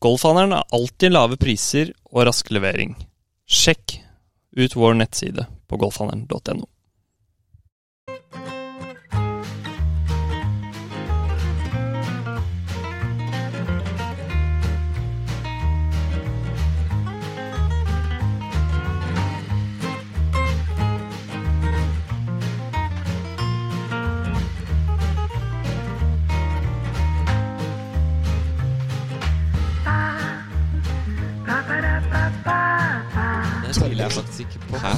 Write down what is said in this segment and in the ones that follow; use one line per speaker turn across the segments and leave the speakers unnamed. Golfhandelen har alltid lave priser og rask levering. Sjekk ut vår nettside på golfhandelen.no.
Det
tviler jeg
faktisk ikke på.
Hæ?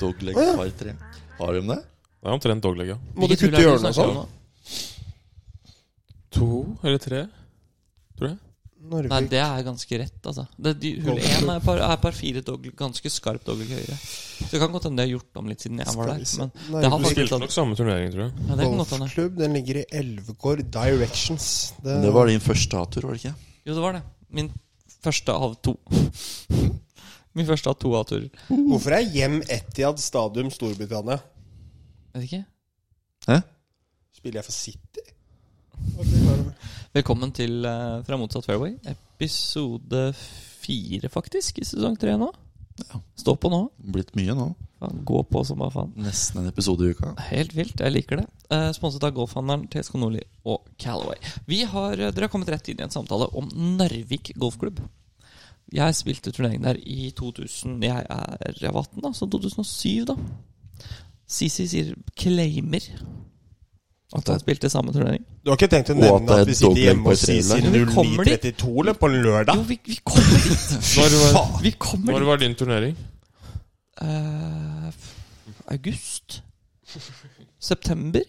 Dogleg
Å, ja.
par tre. Har de det?
Det er omtrent dogleg, ja.
Må du putte i ørene og sånn?
To eller tre?
Narvik.
Nei, det er ganske rett, altså. Det, de, hull
Golf.
1 er par, er par fire dog, ganske skarpt dogleg høyre. Så det kan godt hende de har gjort om litt siden jeg var
Skal
der.
vi se.
Men det har
Narvik
Du
faktisk
spilte nok samme turnering, tror jeg.
ja, det kan godt hende.
Golfklubb, den ligger i Elvegård Directions. Det,
Det var din første A-tur, var det ikke?
Jo, det var det. Min første av to. Min første av to A-turer.
Hvorfor er Hjem Etiad Stadium Storbritannia?
Vet ikke.
Spiller jeg for City?
Velkommen til eh, Fra motsatt fairway, episode fire, faktisk, i sesong tre nå. Stå på nå.
Blitt mye nå.
Faen, Gå på som bare faen.
Nesten en episode i uka.
Helt vilt. Jeg liker det. Eh, sponset av golfhandleren TSK Nordli og Calaway. Vi har, eh, dere har kommet rett inn i en samtale om Narvik golfklubb. Jeg spilte turnering der i 2000 Jeg er jeg var 18, da, så 2007, da. Sisi sier claimer at han spilte samme turnering.
Du har ikke tenkt å
Og at
nevne
det er
at vi sitter
dobbelt
hjemme
på
og sier
trailer.
Men vi kommer dit.
09.32 eller på en lørdag?
Jo, vi, vi kommer dit!
Når var,
Vi kommer
når
dit.
var din turnering?
Eh, f- august? September?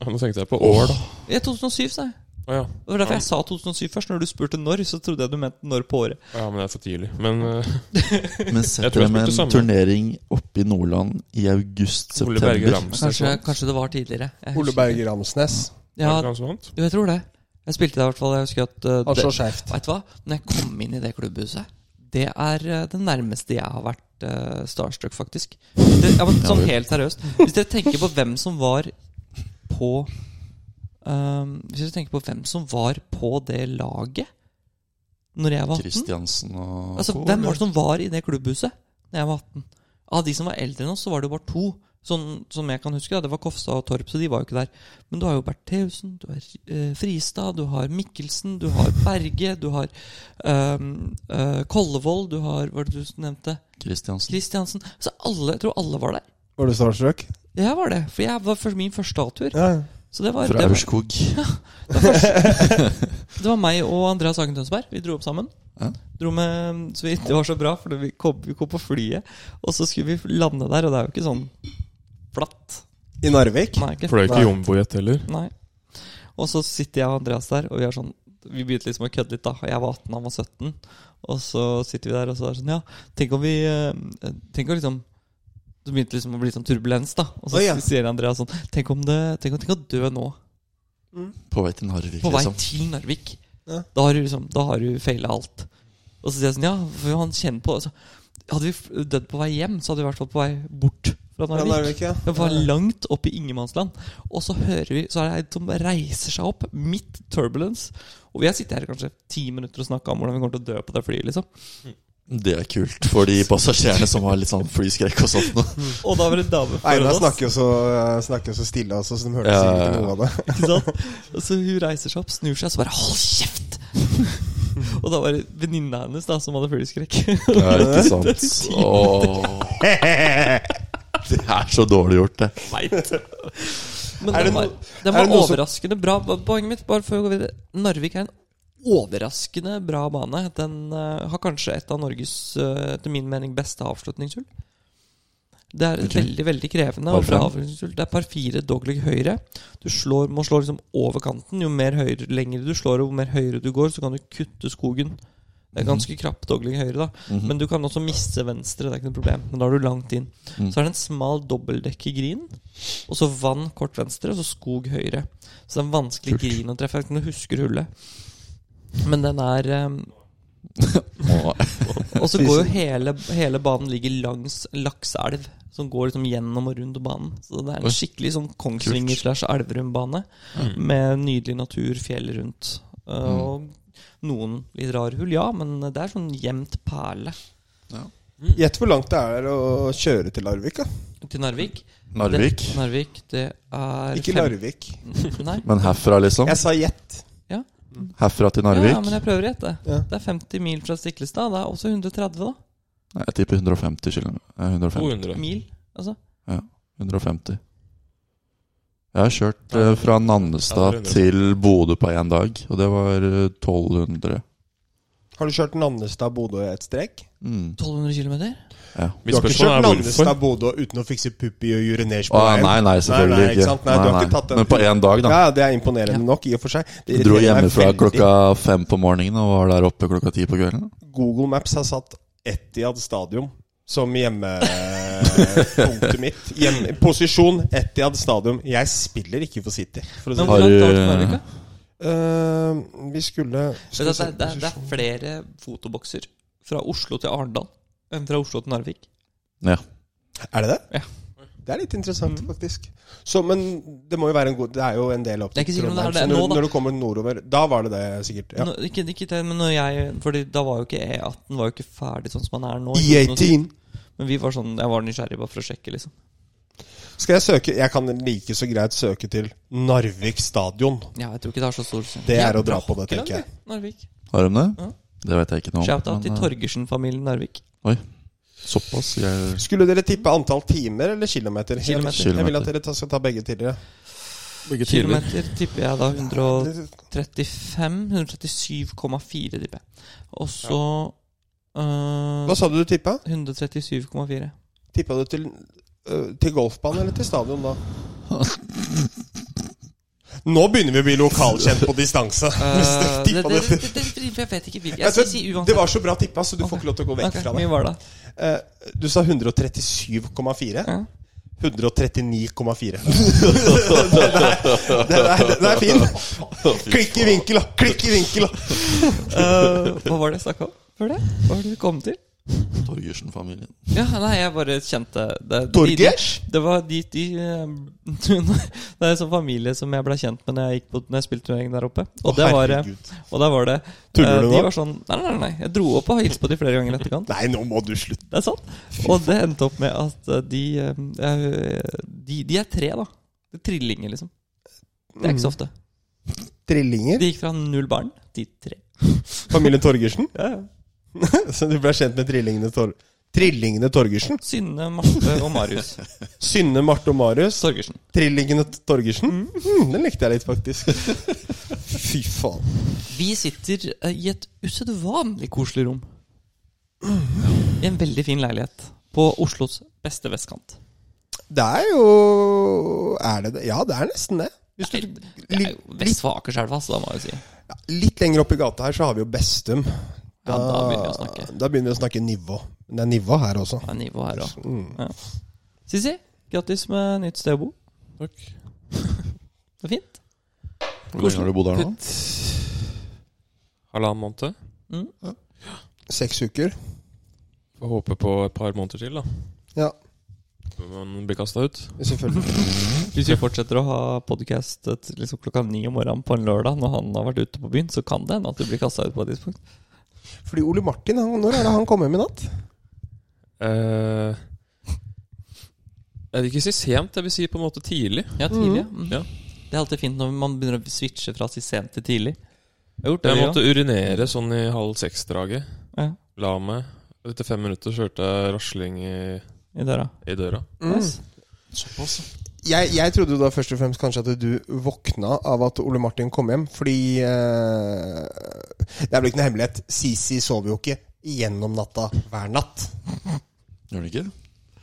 Ja, Nå tenkte jeg på år, da.
Ja, 2007, sa jeg.
Å ja.
Det var derfor jeg sa 2007 først. Når du spurte når, så trodde jeg du mente når på året.
ja, men det er for tidlig. Men eh,
Men sett
Jeg tror jeg
dem en
spilte samme.
turnering oppe i Nordland i
Ole Berge
august-september.
Ramsnes
Kanskje,
vant.
kanskje det var tidligere. Jeg
Ole
husker
Berge
ikke.
Ramsnes.
Ja,
Var det han som vant?
jo, jeg tror det. Jeg spilte der i hvert fall. Jeg husker at eh,
Han
det,
slår skjevt.
Vet du hva? Når jeg kom inn i det klubbhuset Det er eh, det nærmeste jeg har vært eh, starstruck, faktisk. Det, ja, men, sånn helt seriøst. Hvis dere tenker på hvem som var på ehm, Hvis dere tenker på hvem som var på det laget Når jeg var 18
Kristiansen og
Altså,
Co,
Hvem
eller?
var det som var i det klubbhuset Når jeg var 18? Av de som var eldre enn oss, så var det jo bare to. Sånn, som jeg kan huske da, Det var Kofstad og Torp, så de var jo ikke der. Men du har jo Bertheussen, du har eh, Fristad, du har Mikkelsen, du har Berge, du har ehm, eh, Kollevold, du har Hva var det du nevnte?
Kristiansen.
Kristiansen. Så alle, jeg tror alle var der.
Var du starstruck?
Jeg var det, for jeg var først min første A-tur.
Ja.
Så det var,
Fra
det, var,
Aurskog.
det var meg og Andreas Hagen Tønsberg. Vi dro opp sammen.
Ja.
Dro med, så vi, det var så bra, for vi kom, vi kom på flyet, og så skulle vi lande der, og det er jo ikke sånn flatt.
I Narvik?
Nei, ikke
For det er
Nei.
ikke Jumbojet heller.
Nei. Og så sitter jeg og Andreas der, og vi er sånn Vi begynte liksom å kødde litt, da. Jeg var 18, han var 17. Og så sitter vi der, og så er det sånn Ja, tenk om vi eh, Tenk om liksom Det begynte liksom å bli sånn turbulens, da. Og så
Oi, ja.
sier Andreas sånn Tenk om det Tenk om tenk å dø nå.
Mm.
På vei til Narvik,
På vei
liksom.
til Narvik.
Ja.
Da har du liksom Da har du feila alt. Og så sier jeg sånn Ja, for han kjenner på altså, Hadde vi f- dødd på vei hjem, så hadde vi i hvert fall på vei bort fra
Ja,
Narvik.
Narvik, ja.
Det var langt opp i ingenmannsland. Og så hører vi Så er det ei som reiser seg opp, midt turbulence. Og vi har sittet her i kanskje ti minutter og snakka om hvordan vi kommer til å dø på det flyet. liksom
Det er kult for de passasjerene som har litt sånn flyskrekk og sånt. nå.
Og da var det en dame
Einar
foran oss.
snakker jo så, eh, snakker jo så stille altså, også, så de hørte
Ja, ja,
sikkert
ja.
ikke noe av det.
Ikke sant? Og så hun reiser seg opp, snur seg, så bare 'hold kjeft'! og da var det venninna hennes da som hadde flyskrekk.
Ja, ikke sant? Åh. Det er så dårlig gjort, det.
Men
Er det
den var,
no-
den
er
var
det noe som-
overraskende bra. Poenget mitt, bare før vi går videre Narvik er en overraskende bra bane. Den eh, har kanskje et av Norges, eh, etter min mening, beste avslutningshull. Det er
Ok.
veldig veldig krevende.
Hva
Og
er det for
bra
en?
avslutningshull Det er par fire dogleg høyre. Du slår, må slå liksom over kanten. Jo mer høyre, lengre du slår, og jo mer høyre du går, så kan du kutte skogen. Det er
Mhm.
ganske krapp dogleg høyre, da.
Mm.
Men du kan også miste venstre. Det er ikke noe problem. Men da er du langt inn.
Mhm.
Så er det en smal dobbeltdekk i green, og så vann kort venstre, og så skog høyre. Så det er en vanskelig
Kult.
green å treffe. Jeg vet ikke om du husker hullet. Men den er eh,
Åh.
Og så går jo hele, hele banen ligger langs lakseelv, som går liksom gjennom og rundt banen. Så det er
Oi.
en skikkelig sånn
Mm.
Mm. Kongsvinger slash Elverum-bane, med nydelig natur, fjell rundt. Eh,
Mm.
Og Noen litt rar hull, ja, men det er sånn jevnt perle
Gjett hvor langt det er å kjøre til Larvik, da.
til Narvik.
Narvik.
Det, Narvik, det er
Ikke
fem-
Larvik.
Nei.
Men herfra, liksom?
Jeg sa gjett.
Herfra til
Ja,
Narvik?
ja, men jeg prøver å gjette.
Ja.
Det er 50 mil fra Stiklestad. Det er også 130, da.
Nei, Jeg tipper 150 km.
Oh,
150.
200.
Mil. Altså.
150. Jeg har kjørt eh, fra
Ja,
Nannestad
det er 100.
til Bodø på én dag, og det var eh, 1200.
Har du kjørt Nannestad-Bodø i ett strekk?
Mm.
1200 km?
Du
Mitt
har ikke
spørsmål
kjørt
er hvorfor.
Nannestad-Bodø uten å fikse puppi og uriners på
Å, Ah,
veien?
nei, nei,
Nei,
selvfølgelig
nei, ikke
ikke.
sant? Nei, du har ikke tatt den.
Men på én dag, da.
Ja, det er imponerende nok, i og for seg. Det
Jeg dro
irriterer meg
hjemmefra
veldig.
klokka fem på morgenen og var der oppe klokka ti på kvelden.
Google Maps har satt Etihad Stadium som hjemmepunktet mitt. Hjemme, posisjon Etihad Stadium. Jeg spiller ikke for City. For å si
Men
det.
Har
hvor langt
du-
har du til Narvik, da?
Eh, vi skulle,
Det
skulle
er, det, er, det er flere fotobokser fra Oslo til Arendal enn fra Oslo til Narvik.
Ja.
Er det det?
Ja. Mm.
Det er litt interessant, faktisk. Så, men det må jo være en god Det er jo en del opp
Det er
til
ikke sikkert om det er det
Trondheim. så
nå,
når,
da.
når du kommer nordover Da var det det, sikkert. Ja.
Nå, ikke, ikke det, men når jeg Fordi da var jo ikke E18 var jo ikke ferdig sånn som man er nå.
E18!
Men vi var sånn Jeg var nysgjerrig bare for å sjekke, liksom.
Skal jeg søke Jeg kan like så greit søke til Narvik stadion.
Ja, jeg tror ikke det har så stor
Det er å dra på det, tenker jeg.
Narvik.
Har de det?
Ja.
Det vet jeg ikke noe om.
Shout-out til
men, eh,
Torgersen-familien Narvik.
Såpass. Jeg,
Skulle dere tippe antall timer eller kilometer? Jeg-
Kilometer.
Jeg vil at dere ta- skal ta begge til dere.
Kilometer tipper jeg da 135 137,4, tipper jeg. Og så øh,
Hva sa du du tippa?
137,4.
Tippa du til, øh, til golfbane eller til stadion da? Nå begynner vi å bli lokalkjent på distanse. Hvis
Eh,
dere
det, det,
tippa
det,
det-
det, det, jeg vet ikke hvilken. Jeg
Jeg
skal si
tror-
uansett.
Det var så bra tippa, så du får ikke lov til å gå vekk
Ok,
fra
hvor
det.
mye var det?
Eh, Du sa 137,4.
Ja.
139,4. Den er- den er- den er fin. Klikk i vinkel, da! Klikk i vinkel, da!
Eh, hva var det jeg snakka om før det? Hva var det du kom til?
Torgersen-familien.
Ja, nei, jeg bare kjente det. De- de-
Torgers?
Det var de, de eh, Det er en sånn familie som jeg ble kjent med når jeg, gikk på, når jeg spilte turnering der oppe. Og,
Å,
det var, eh,
herregud.
og der var det eh,
Tuller du
De
nå?
var sånn Nei, nei, nei. Jeg dro opp og hilste på de flere ganger i etterkant.
Nei, nå må du slutte.
Det er sant. Og det endte opp med at eh, de eh, De, de er tre, da. Det er Trillinger, liksom. Det er ikke så ofte.
Trillinger?
De gikk fra null barn til tre.
Familien Torgersen?
Ja, ja.
Så du ble kjent med trillingene, Tor trillingene Torgersen?
Synne, Marte og Marius
Synne, Marte og Marius.
Torgersen.
Trillingene Torgersen? Mm, den likte jeg litt, faktisk. Fy faen.
Vi sitter eh, i et usedvanlig koselig rom. I en veldig fin leilighet på Oslos beste vestkant.
Det er jo Er det det? Ja, det er nesten det. Hvis
Nei,
du,
Det er jo vest for Akerselva, så da må jeg jo si.
ja, litt lenger opp i gata her så har vi jo Bestum.
Ja, da begynner vi å snakke.
Da begynner vi å snakke nivå. Men det er nivå her også.
Det er nivå her òg.
Mm.
Sissi, grattis med nytt sted å bo.
Takk.
Det er fint.
Hvor lenge har du bodd her nå?
Halvannen måned.
Seks uker.
Får håpe på et par måneder til, da.
Ja,
Før Man blir kasta ut.
selvfølgelig.
Hvis vi fortsetter å ha podkast liksom klokka ni om morgenen på en lørdag når han har vært ute på byen, så kan det hende at du blir kasta ut på et tidspunkt.
Fordi Ole Martin, han, når er det han kom hjem i natt?
Eh, jeg vil ikke si sent, jeg vil si på en måte tidlig.
Ja, tidlig. ja. Mm.
Ja.
Det er alltid fint når man begynner å switche fra si sent til tidlig. Jeg har gjort det,
Jeg
vi
måtte urinere sånn i halv seks-draget.
også. ja,
La meg. Etter fem minutter så hørte jeg rasling i,
i døra.
i døra.
Mm.
Nice.
Jeg, jeg trodde jo da først og fremst kanskje at du våkna av at Ole Martin kom hjem, fordi eh, Det er vel ikke noe hemmelighet. Sisi sover jo ikke gjennom natta hver natt.
Gjør det ikke?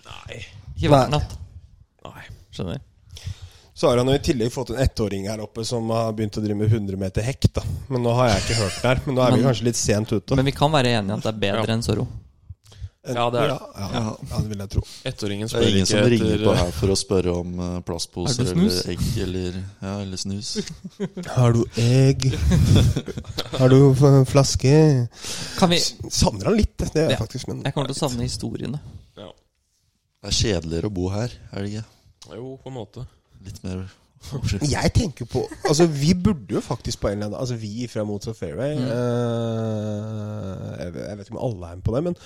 Ikke hver
Nei.
natt. Skjønner.
Så har han jo i tillegg fått en ettåring her oppe som har begynt å drive med 100 meter hekk. da Men nå har jeg ikke hørt det her. Men nå er vi
Men-
kanskje litt sent ute.
Men vi kan være enige at det er bedre
Ja.
enn Zorro.
Ja, det er det.
Ja, ja, ja, det vil jeg tro.
Ettåringen
Det er
spør
ingen
ikke
som ringer på
etter
her for å spørre om eh,
Er
plastposer
det snus?
eller egg eller, ja, eller snus.
Har du egg? Har du f- flaske?
Kan vi
Savner han litt, det gjør jeg
Ja.
faktisk. Men
Jeg kommer til å savne historiene.
eh, ja.
Det er kjedeligere å bo her, er det ikke?
Jo, på en måte.
Litt mer
Jeg tenker på Altså, vi burde jo faktisk på en eller annen Altså, vi fra Moods of Fairway
Mm.
eh, jeg, vet- jeg vet ikke om alle er med på det, men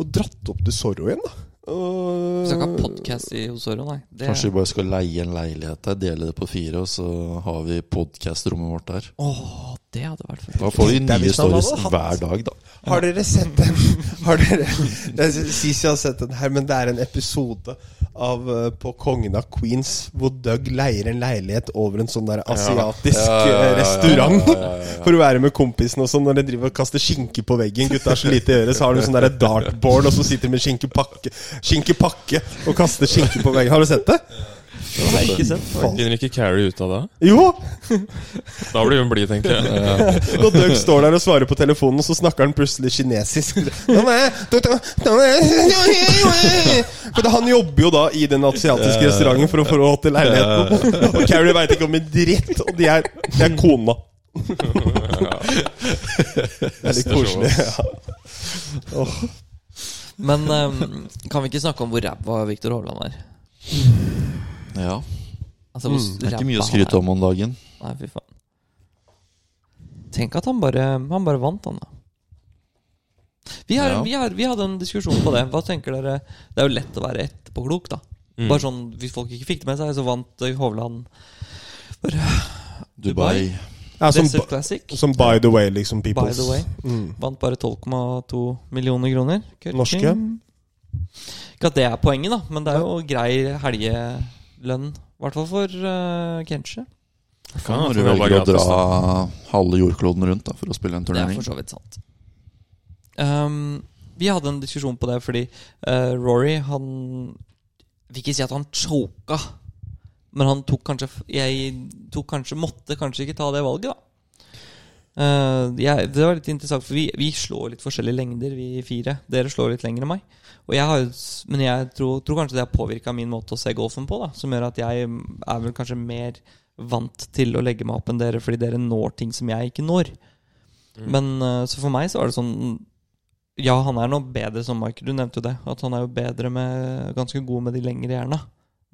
Og dratt opp til Zorro igjen, da. Og-
Vi skal ikke ha podkast i Osoro, nei. Det,
Kanskje vi bare skal leie en leilighet der, dele det på fire, og så har vi podcastrommet vårt der.
Åh, det hadde vært fint.
Da får de
Det er
nye
hvis han hadde
stories
hatt-
hver dag, da.
Har dere sett den? Har dere, det er Sist jeg har sett den her, men det er en episode av, eh, på Kongen av Queens hvor Doug leier en leilighet over en sånn der asiatisk
Ja, ja, ja,
eh,
ja,
restaurant.
ja, ja, ja, ja.
For å være med kompisen og sånn når de driver og kaster skinke på veggen. Gutta har så lite å gjøre, så har de sånn der dartboard, og så sitter de med skinkepakke, skinkepakke og kaster skinke på veggen. Har du sett det?
Ikke sant?
Faen.
Finner ikke Carrie ut av det?
Jo!
Da blir hun blid, tenker jeg.
Når Doug står der og svarer på telefonen, så snakker han plutselig kinesisk. For han jobber jo da i den asiatiske restauranten for å få råd til leiligheten. Og Carrie veit ikke om en dritt, og det er, det er kona. Det er litt koselig. Ja. Åh,
Men eh, kan vi ikke snakke om hvor ræva Viktor Hovland er?
Ja,
Altså, hvor
Mm, Det er ikke mye å skryte om om dagen.
Nei, fy faen. Tenk at han bare, han bare vant, han da. Vi, har,
Ja.
vi, har, vi hadde en diskusjon på det. Hva tenker dere? Det er jo lett å være etterpåklok, da.
Mm.
Bare sånn, Hvis folk ikke fikk det med seg, så vant eh, Hovland
Dubai.
Ja, som,
Desert Classic.
som by the way, liksom, peoples.
By the way.
Mm.
Vant bare 12,2 millioner kroner. Kutting.
Norske.
Ikke at det er poenget, da, men det er jo grei helgelønn. I hvert fall for uh, Kenshi.
Faen,
Når du
jeg tror det var
velger å
gratis,
dra halve jordkloden rundt da, for å spille en
Det er
turnering.
for så vidt sant. Ehm, vi hadde en diskusjon på det fordi eh, Rory, han Vil ikke si at han choka, men han tok kanskje f- Jeg tok kanskje måtte kanskje ikke ta det valget, da. Eh, jeg, det var litt interessant, for vi, vi slår litt forskjellige lengder, vi fire. Dere slår litt lenger enn meg. Og jeg har, jo s- men jeg tror, tror kanskje det har påvirka min måte å se golfen på, da som gjør at jeg er vel kanskje mer vant til å legge meg opp enn dere, fordi dere når ting som jeg ikke når.
Mm.
Men eh, så for meg så var det sånn Ja, han er nå bedre som Mike. Du nevnte jo det. At han er jo bedre med ganske god med de lengre jerna.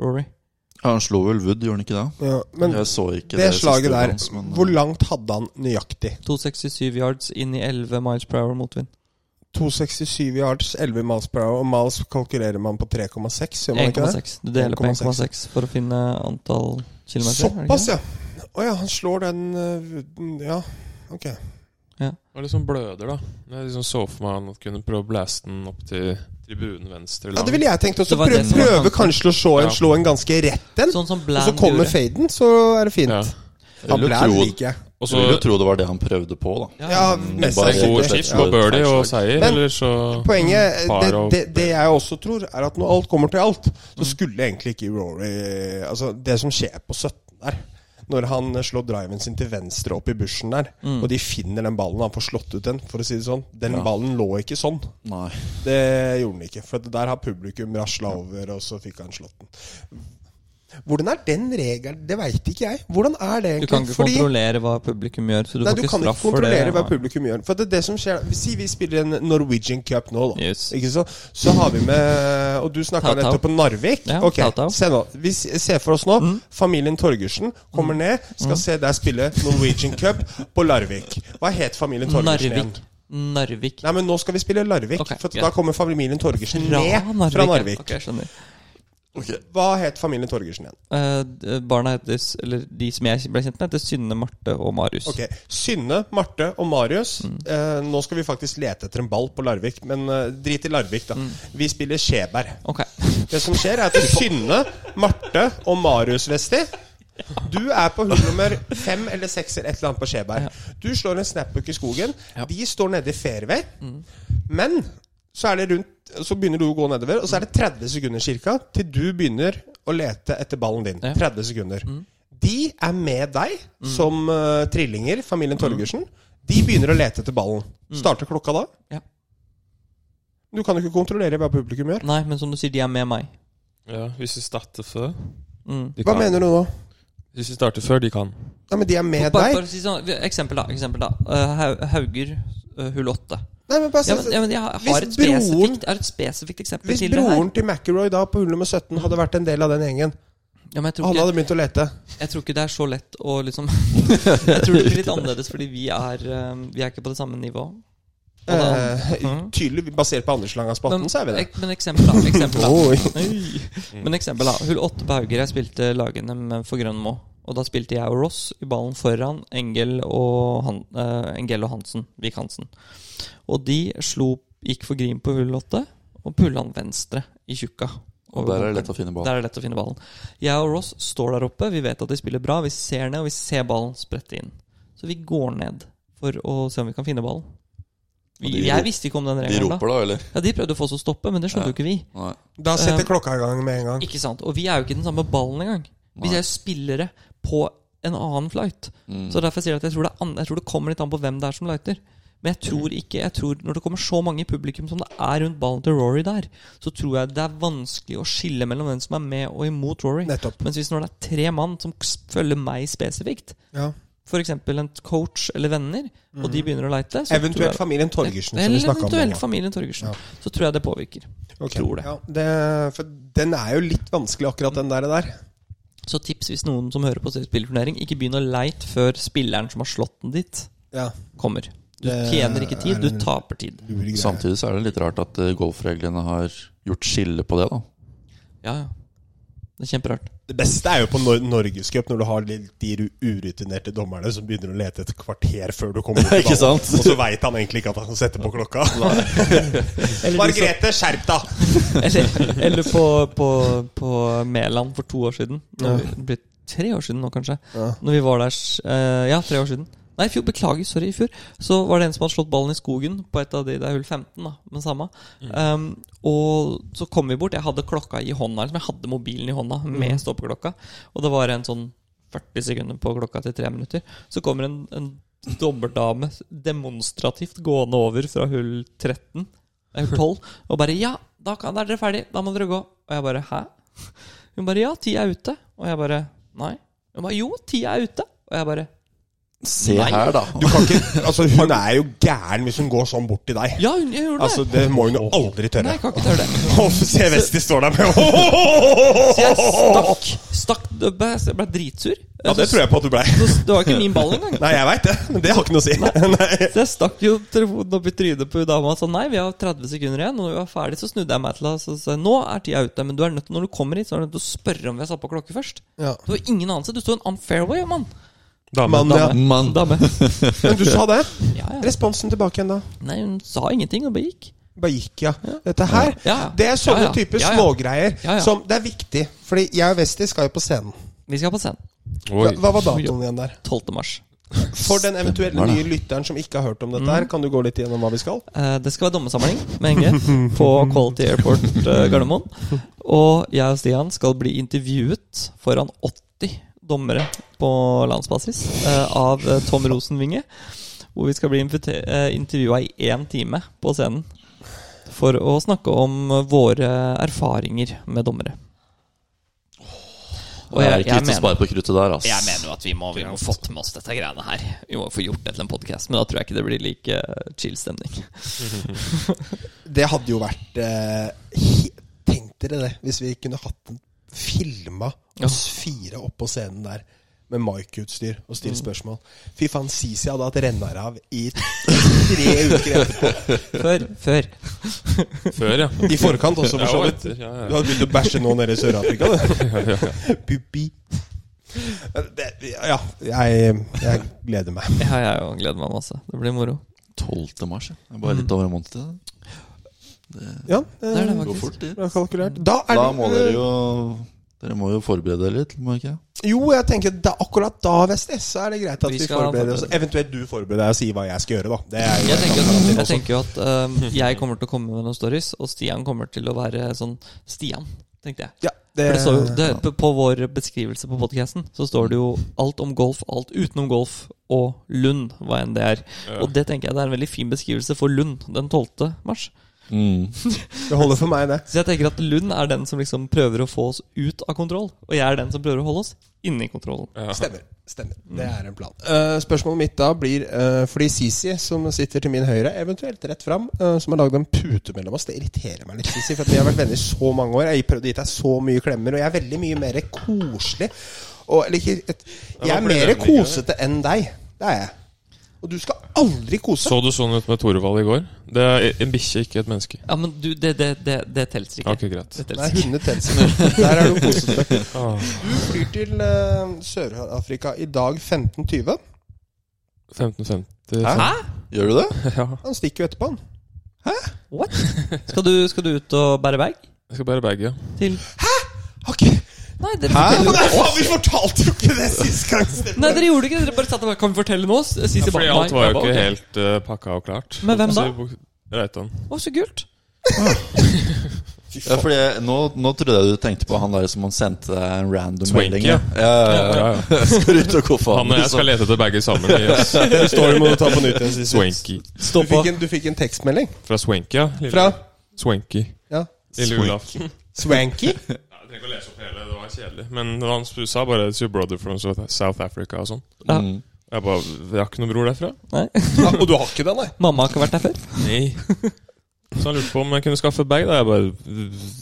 Rory.
Ja, han slo vel Wood, gjorde han ikke det?
Ja, men
jeg så ikke
det slaget
siste
der,
hans, men- eh,
hvor langt hadde han nøyaktig?
267 yards inn i 11 miles per hour motvind.
267 yards, 11 miles per hour. Og miles kalkulerer man på 3,6, gjør man ikke det?
1,6. Du deler på
1,6.
1,6 for å finne antall kilometer. er det ikke
Såpass,
det?
ja. Å ja, han slår den øh, Ja, ok.
Det var litt sånn bløder, da. Jeg liksom så for meg han at kunne prøve å blæste den opp til tribunen venstre.
Ja, Det ville jeg tenkt også.
Det var
Prøve,
det som var
prøve
tanken.
kanskje å slå en,
Ja.
slå en ganske rett en,
Sånn som
og så
Bland
kommer
gjorde.
faden, så er det fint.
Ja.
Ja,
Jeg vil jo
Bland
tro-
liker jeg.
Og
jeg vil jo
så
tro det var det han prøvde på, da.
Ja,
Mm.
mest
bare
god
sannsynlig.
rett.
chip på birdie og seier,
Men-
eller så
Poenget,
Par
det,
Mm. og-
det, det jeg også tror, er at når alt kommer til alt, så
Mm.
skulle egentlig ikke Rory Altså, det som skjer på 17 der når han eh, slår driven sin til venstre opp i bushen der,
Mm.
og de finner den ballen Han får slått ut den, for å si det sånn. Den ballen lå ikke sånn.
Nei.
Det gjorde den ikke. For at der har publikum rasla over, og så fikk han slått den. Hvordan er den regelen? Det veit ikke jeg. Hvordan er det
Du
egentlig?
kan ikke
Fordi-
kontrollere hva publikum gjør, så du
Nei,
får
du
ikke
kan ikke
straff for det.
kontrollere hva publikum gjør. For det er det som skjer Si vi spiller en Norwegian Cup nå, da.
Yes.
Ikke så? så har vi med Og du snakka
Tau-tau.
nettopp om Narvik.
Ja, Mm.
ok,
tau-tau.
se nå. Vi s- ser for oss nå familien Torgersen kommer
Mm.
ned, skal se deg spille Norwegian Cup på Larvik. Hva het familien Torgersen igjen?
Narvik. Narvik.
Nei, men nå skal vi spille Larvik,
Ok,
for
greit.
da kommer familien Torgersen
Fra
ned
Narvik.
fra Narvik.
Ok, jeg skjønner.
Hva het familien Torgersen igjen?
Eh, d- barna heter, s- eller de som jeg ble kjent med, heter Synne, Marte og Marius.
Ok, Synne, Marte og Marius.
Mm.
Eh, nå skal vi faktisk lete etter en ball på Larvik, men eh, drit i
Mm.
Larvik, da. Vi spiller Skjeberg.
Ok.
Det som skjer, er at Synne, Marte og Marius Vesti Du er på hull nummer fem eller seks eller et eller annet på Skjeberg. Du slår en snapbook i skogen. De står nede i fairway.
Mm.
Men så, er det rundt, så begynner du å gå nedover, og så er det 30 sekunder cirka til du begynner å lete etter ballen din.
Ja. Mm.
30 sekunder. De er med deg som eh, trillinger,
Mm.
familien Torgersen. De begynner å lete etter ballen. Starter klokka da?
Ja.
Du kan jo ikke kontrollere hva publikum gjør.
Nei, men som du sier, de er med meg.
Ja, hvis vi starter før
Mm.
de
Hva
kan.
mener du nå?
Hvis vi starter før, de kan.
Nei, men De er med
Bare
deg.
for å si sånn, vi- eksempel, da. Eksempel da Eh, Hau- Hauger, eh, hull åtte.
Nei, men bare se-
Ja, men, ja, men jeg har
Altså, Hvis
har et
broren-
spesifikt, jeg har et spesifikt eksempel
Hvis
til det her.
broren til McIlroy da på hull nummer 17 hadde vært en del av den gjengen,
Ja, men jeg tror,
Alle
ikke,
hadde begynt å lete.
jeg tror ikke det er så lett å liksom Jeg tror det blir litt annerledes, fordi vi er, eh, vi er ikke på det samme nivået. Og da-
Eh,
Mhm.
tydelig basert på Anders Langas Patten,
Men-
så er vi det.
ek- Men eksempel, da. Eksempel, da.
Oi.
Oi. Men eksempel, da. Hull 8 på Hauger. Jeg spilte lagene med- for Grønmo. Og da spilte jeg og Ross i ballen foran Engel og, Han, eh, Engel og Hansen. Vik Hansen. Og de slo, gikk for green på hull 8 og pulla den venstre i tjukka.
Og der er det lett å finne ball.
Der er det lett å finne ballen. Jeg og Ross står der oppe. Vi vet at de spiller bra. Vi ser ned, og vi ser ballen sprette inn. Så vi går ned for å se om vi kan finne ballen.
Og
Vi,
de
jeg
rop-
visste ikke om den
De
regelen da.
roper da, eller?
Ja, De prøvde å få oss å stoppe, men det skjønte jo
Ja.
ikke vi.
Nei.
Da setter
Eh,
klokka i gang med en gang.
Ikke sant? Og vi er jo ikke den samme ballen engang. Hvis
Nei.
jeg er spillere på en annen flight.
Mm.
Så derfor sier jeg at jeg tror, det er an jeg tror det kommer litt an på hvem det er som lighter. Men jeg tror ikke jeg tror Når det kommer så mange i publikum som det er rundt ballen til Rory der, så tror jeg det er vanskelig å skille mellom den som er med og imot Rory.
Nettopp.
Mens hvis når det er tre mann som s- følger meg spesifikt,
Ja. Mm.
f.eks. en coach eller venner, og de begynner å leite så tror
Eventuelt
jeg-
familien Torgersen, som vi
Eller
snakka om.
eventuelt
nå.
familien Torgersen.
Ja.
Så tror jeg det påvirker.
Ok.
tror det.
Ja, det. For den er jo litt vanskelig, akkurat den der. der.
Så tips hvis noen som hører på spillerturnering, ikke begynn å leite før spilleren som har slått den dit,
Ja.
kommer. Du
Det
tjener ikke
er
tid, du
en-
taper tid.
Samtidig så er det litt rart at eh, golfreglene har gjort skille på det, da.
Ja, ja. Det er kjemperart.
Det beste er jo på Nor Norgescup, når du har litt de ru- urutinerte dommerne som begynner å lete et kvarter før du kommer opp i
Ikke
ballen.
sant?
Og så veit han egentlig ikke at han kan sette på klokka. Margrethe, skjerp deg!
Eller, eller på, på, på Mæland for to år siden. Når vi, det blir tre år siden nå, kanskje.
Ja.
Når vi var der eh, Ja, tre år siden. Nei, i fjor, beklager. Sorry, i fjor. Så var det en som hadde slått ballen i skogen på et av de Det er hull 15, da, men samme. Um, og så kom vi bort. Jeg hadde klokka i hånda. Liksom. Jeg hadde mobilen i hånda med stoppeklokka. Og det var en sånn 40 sekunder på klokka til tre minutter. Så kommer en, en dommerdame demonstrativt gående over fra hull 13, nei, hull 12, og bare 'Ja, da kan, da er dere ferdig. Da må dere gå.' Og jeg bare 'Hæ?' Hun bare 'Ja, tida er ute.' Og jeg bare 'Nei'. Hun bare 'Jo, tida er ute'. Og jeg bare
Se
Nei.
her, da.
Du kan ikke, altså Hun er jo gæren hvis hun går sånn bort til deg.
Ja, hun jeg gjorde det.
Altså Det må hun jo aldri
Nei,
tørre.
jeg kan ikke tørre det.
Og se Westi står der med
Så jeg stakk. stakk Jeg ble jeg ble dritsur.
Ja, det tror jeg på at du blei.
Det var ikke min ball engang.
Nei, jeg veit det, men det har ikke noe å si. Nei.
Så jeg stakk jo telefonen opp i trynet på dama og sa nei, vi har 30 sekunder igjen. Og når vi var ferdig, så snudde jeg meg til henne og sa nå er tida ute. Men du er nødt til, når du kommer hit, så er du nødt til å spørre om vi har satt på klokke først.
Ja.
Du har ingen anelse. Du sto i en unfairway, mann.
Dame.
Men, ja.
Mann.
Dame.
men du sa det.
Ja, ja.
Responsen tilbake igjen da.
Nei, hun sa ingenting og bare gikk.
Bare gikk, ja. Dette her,
Ja, ja.
det er sånne
Ja, ja.
typer
Ja, ja.
smågreier
Ja, ja.
som Det er viktig, fordi jeg og Westi skal jo på scenen.
Vi skal på scenen.
Oi.
Hva, hva var datoen igjen der?
12. mars.
For den eventuelle
Stemmer det.
nye lytteren som ikke har hørt om dette her, kan du gå litt gjennom hva vi skal?
Eh, Det skal være dommesamling med Enge på Quality Airport eh, Gardermoen. Og jeg og Stian skal bli intervjuet foran 80 dommere på landsbasis eh, av eh, Tom Rosenvinge. Hvor vi skal bli intervjua i én time på scenen. For å snakke om eh, våre erfaringer med dommere. Og
Det er
jeg,
ikke
jeg,
vits å
mener,
spare på kruttet der, ass.
jeg mener jo at vi må, vi må fått med oss dette greiene her. Vi må få gjort det til en podkast, men da tror jeg ikke det blir like eh, chill stemning.
Det hadde jo vært eh, he- Tenk dere det, hvis vi kunne hatt den filma oss fire opp på scenen der. Med mic-utstyr og stille spørsmål. Fy faen, Sisi hadde hatt renner av i tre uker etterpå.
Før, før.
Før, ja.
I forkant også, for
Ja,
så
og
vidt.
etter. Ja,
Du
ja.
hadde begynt å bæsje nå nede i Sør-Afrika, du. Puppi. Det, ja, jeg, jeg gleder meg.
Ja, jeg òg gleder meg masse. Det blir moro.
12. mars, ja. Det er Bare litt over en måned til. det.
Ja,
Det er det
Går
faktisk.
fort, det.
bra kalkulert. Da er
Da
det-
må dere jo Dere må jo forberede dere litt, må dere ikke?
Jo, jeg tenker da, akkurat da, Vesti, så er det greit at
Vi
vi,
skal
forbereder oss.
forberede.
Eventuelt du forbereder deg og sier hva jeg skal gjøre, da. Det er jo
Jeg tenker,
et
at,
alternativ
jeg
også.
tenker jo at øhm, jeg kommer til å komme med noen stories, og Stian kommer til å være sånn Stian, tenkte jeg.
ja, det,
For det står jo, det, på- på vår beskrivelse på podkasten så står det jo alt om golf, alt utenom golf og Lund, hva enn det er. Og det tenker jeg det er en veldig fin beskrivelse for Lund den 12. mars.
det holder for meg, det.
Så jeg tenker at Lund er den som liksom prøver å få oss ut av kontroll, og jeg er den som prøver å holde oss Inni kontrollen.
Ja.
Stemmer. stemmer. Det er en plan. Eh, spørsmålet mitt da blir eh, Fordi Sisi, som sitter til min høyre, eventuelt rett fram, eh, som har lagd en pute mellom oss, det irriterer meg litt, Sisi. For at vi har vært venner i så mange år. Jeg har prøvd å gi deg så mye klemmer, og jeg er veldig mye mer koselig. Og, eller, ikke- et, jeg er
fordi
mer
den liker
kosete enn deg. Det er jeg. Og du skal aldri kose.
Så du sånn ut med Torvald i går? Det er en bikkje, ikke et menneske.
Ja, men du, det, det, det, det telser ikke.
Ok, greit.
Det
Nei,
telser ikke.
hundetelsen. Der er du kosete.
Ah,
Du flyr til eh, Sør-Afrika i dag 15.20.
1550
Hæ?
Gjør du det?
Ja.
Han stikker jo etterpå, han.
What? Skal du, skal du ut og bære bag?
Jeg skal bære bagget.
Til
Okay.
Nei, dere forteller
Nei, faen, vi fortalte jo ikke det sist gang!
Nei, dere gjorde ikke det. Dere bare satt og bare Kan vi fortelle nå? Sisi
Ja, fordi
bare,
alt
nei.
var
Jeg
jo
bare,
ikke
ok.
helt eh, pakka og klart.
Men hvem da?
Så vi bok- Reitan.
Å, så kult.
Ja, fordi jeg, nå, nå trodde jeg du tenkte på han der som han sendte deg en random
Swanky,
melding. Ja, ja, ja, ja.
Ja, ja.
Skal ut og gå for liksom.
Han og jeg skal lete etter bagget sammen. Yes.
Den storyen må du ta på nytt igjen. Sissel.
Swanky.
Du fikk en, du fikk en tekstmelding
Fra Swanky, ja. Lille-
fra
Swanky.
ja.
Lille
Swanky.
julaften.
Swanky.
Ja, jeg trenger ikke å lese opp hele, det var kjedelig. Men han sp- sa bare 'It's your brother from South- South Africa' og sånn.
Ja.
Mm.
Jeg bare 'Jeg har ikke noen bror derfra'.
Nei.
Ja, Ah, og du har ikke den, nei?
Mamma har ikke vært der før.
Nei. Så han lurte på om jeg kunne skaffe bag. Da jeg bare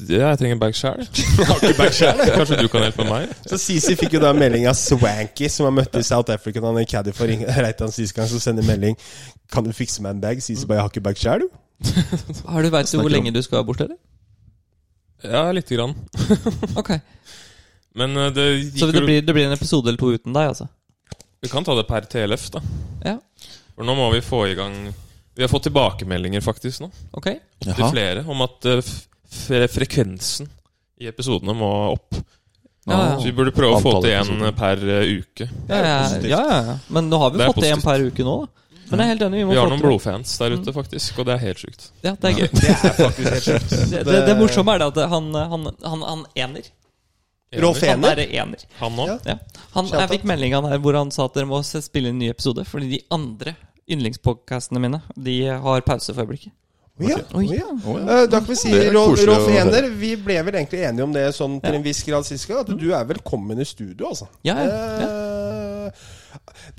Ja, jeg trenger bag sjæl. Kanskje du kan hjelpe meg?
Så Sisi fikk jo da melding av Swanky, som han møtte i South Africa da han gikk caddy for Ing- Reitan sist gang, som sender melding Kan du fikse meg en bag? Sisi bare Jeg har ikke bag sjæl, du.
Har du Veit du hvor lenge du skal bort, eller?
Ja, lite grann.
Ok.
Men eh, det gikk
Så det
jo-
blir, det blir en episode eller to uten deg, altså?
Vi kan ta det per TLF, da.
Ja.
For nå må vi få i gang Vi har fått tilbakemeldinger faktisk nå
Ok.
til flere om at eh, f- fre frekvensen i episodene må opp.
Ja, ja.
Så vi burde prøve å få
Antallet
til én
episoder.
per eh, uke.
Ja, ja,
positivt.
ja, ja. Men nå har vi
Det er
fått det en
positivt.
per uke nå, da. Men jeg er helt enig. Vi, må
Vi har
få
noen
til Mm. det.
blodfans der ute, faktisk, og det er helt sjukt.
Ja, det er gøy.
Det er faktisk helt sjukt.
Det, det, det morsomme er det at han, han, han, han ener.
Rolf
Han
Ener.
er ener.
Han nå?
Ja.
Ja. Han, jeg fikk meldinga der hvor han sa at dere må se- spille inn en ny episode, fordi de andre yndlingspodkastene mine De har pause for øyeblikket.
Å Ja, å ja.
Å, ja.
Eh, Da kan vi si
Det er
Rolf
koselig
Rolf
å høre.
Ener, vi ble vel egentlig enige om det sånn til en viss grad sist gang, at du er velkommen i studio, altså.
Mm. Ja, ja,
Eh,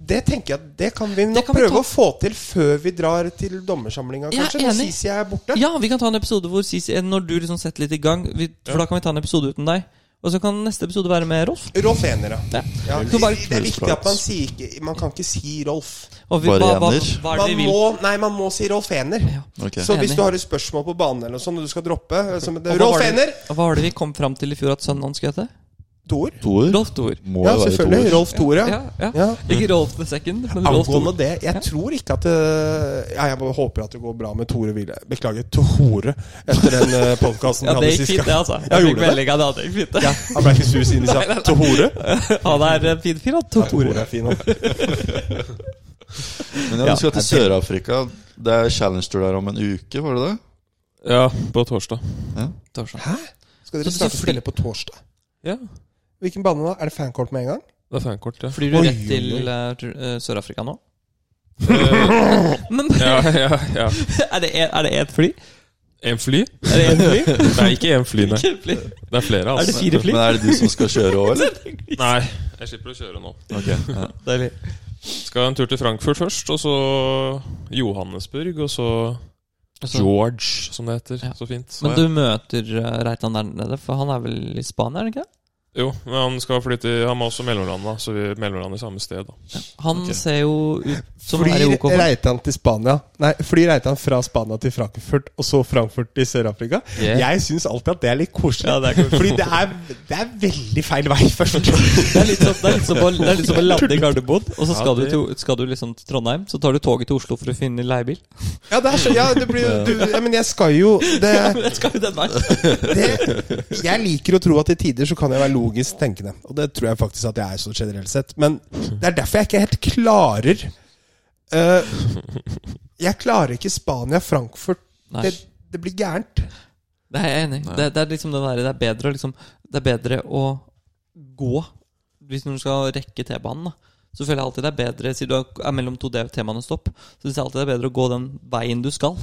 Det tenker jeg at det kan vi nok
kan vi
prøve
ta.
å få til før vi drar til dommersamlinga,
Jeg er
kanskje. Når
enig.
Sisi er borte.
Ja, vi kan ta en episode hvor Sisi Når du liksom setter litt i gang, vi, for da kan vi ta en episode uten deg. Og så kan neste episode være med Rolf.
Rolf Ener,
Ja.
ja. ja.
Så bare-
Det er viktig at man sier ikke Man kan ikke si Rolf.
Og vi,
Bare
hva, hva,
ener.
hva er det
Man
vi vil?
må, nei, man må si Rolf Ener.
Ok.
Så hvis
Enig.
du har et spørsmål på banen eller noe sånt, og du skal droppe eh, som det,
Og hva
Rolf
var det-
Ener!
Hva var det vi kom fram til i fjor at sønnen hans skulle hete?
Tor.
Toer?
Rolf Thor.
Må
Ja,
jo være
selvfølgelig.
toer.
Rolf Tor, ja.
Ja, ja.
ja.
Ikke Rolf the second, men Rolf
Angående
Thor.
det, jeg tror ikke at det, ja, Jeg bare håper at det går bra med Tore Ville. Beklager, Tore, etter den eh, podcasten
Ja,
vi
det
hadde
gikk
sist
fint, det,
gang.
altså.
Ja,
Jeg fikk
gjorde det?
melding av det. at Det gikk fint, det.
Han ble ikke sur siden de
Nei, nei,
sa
nei.
Tore.
Han er en fin fyr, han. Tor Tore.
Tore er fin også.
Men ja, du skal til Sør-Afrika. Det er Challenge Tour der om en uke, var det det?
Ja, på torsdag.
Torsdag.
Skal
Så-
dere
så
starte å
fly-
spille på torsdag?
Ja.
Hvilken bane da? Er det fankort med en gang?
Det er fankort, ja.
Flyr du
Oi,
rett til
oi, oi.
eh, tur- eh, Sør-Afrika nå?
Eh,
Men
ja, ja, ja.
er det en- er det ett fly?
En fly?
Er det en fly?
Nei, ikke en fly, nei.
Ikke en fly?
Det er flere,
Er det
altså.
fire fly?
Men er det du som skal kjøre òg, eller?
Nei, jeg slipper å kjøre nå.
Ok, ja.
Deilig.
Skal en tur til Frankfurt først, og så Johannesburg, og så
Altså,
George, som det heter.
Ja.
Så fint.
men du møter eh, Reitan der nede, for han er vel i Spania, er han ikke det?
Jo, men han skal flytte i- Han må også mellomlande, så vi mellomlander i samme sted. da
Han
Ok.
ser jo ut som han er i
Flyr
OK form.
Reitan til Spania Nei, flyr Reitan fra Spania til Frankfurt, og så Frankfurt til Sør-Afrika? Jeg syns alltid at det er litt koselig.
Ja, det er koselig.
Fordi det er, det er veldig feil vei først.
Det er litt som- det er litt som å det er litt som å lande i Gardermoen, og så skal, du til, skal du liksom til Trondheim. Så tar du toget til Oslo for å finne leiebil.
Ja, det er så, ja, det blir, du, ja, men jeg skal jo det,
Ja, men jeg skal jo den veien.
det, jeg liker å tro at til tider så kan jeg være logisk tenkende. Og det tror jeg faktisk at jeg er sånn generelt sett. Men det er derfor jeg ikke helt klarer eh, Jeg klarer ikke Spania, Frankfurt
Nei.
det, det blir gærent.
Det er jeg enig i. Det, det er liksom det der, det er bedre å liksom Det er bedre å gå hvis du skal rekke T-banen, da. Så føler jeg alltid det er bedre Siden du er mellom to T-banestopp, så syns jeg alltid det er bedre å gå den veien du skal.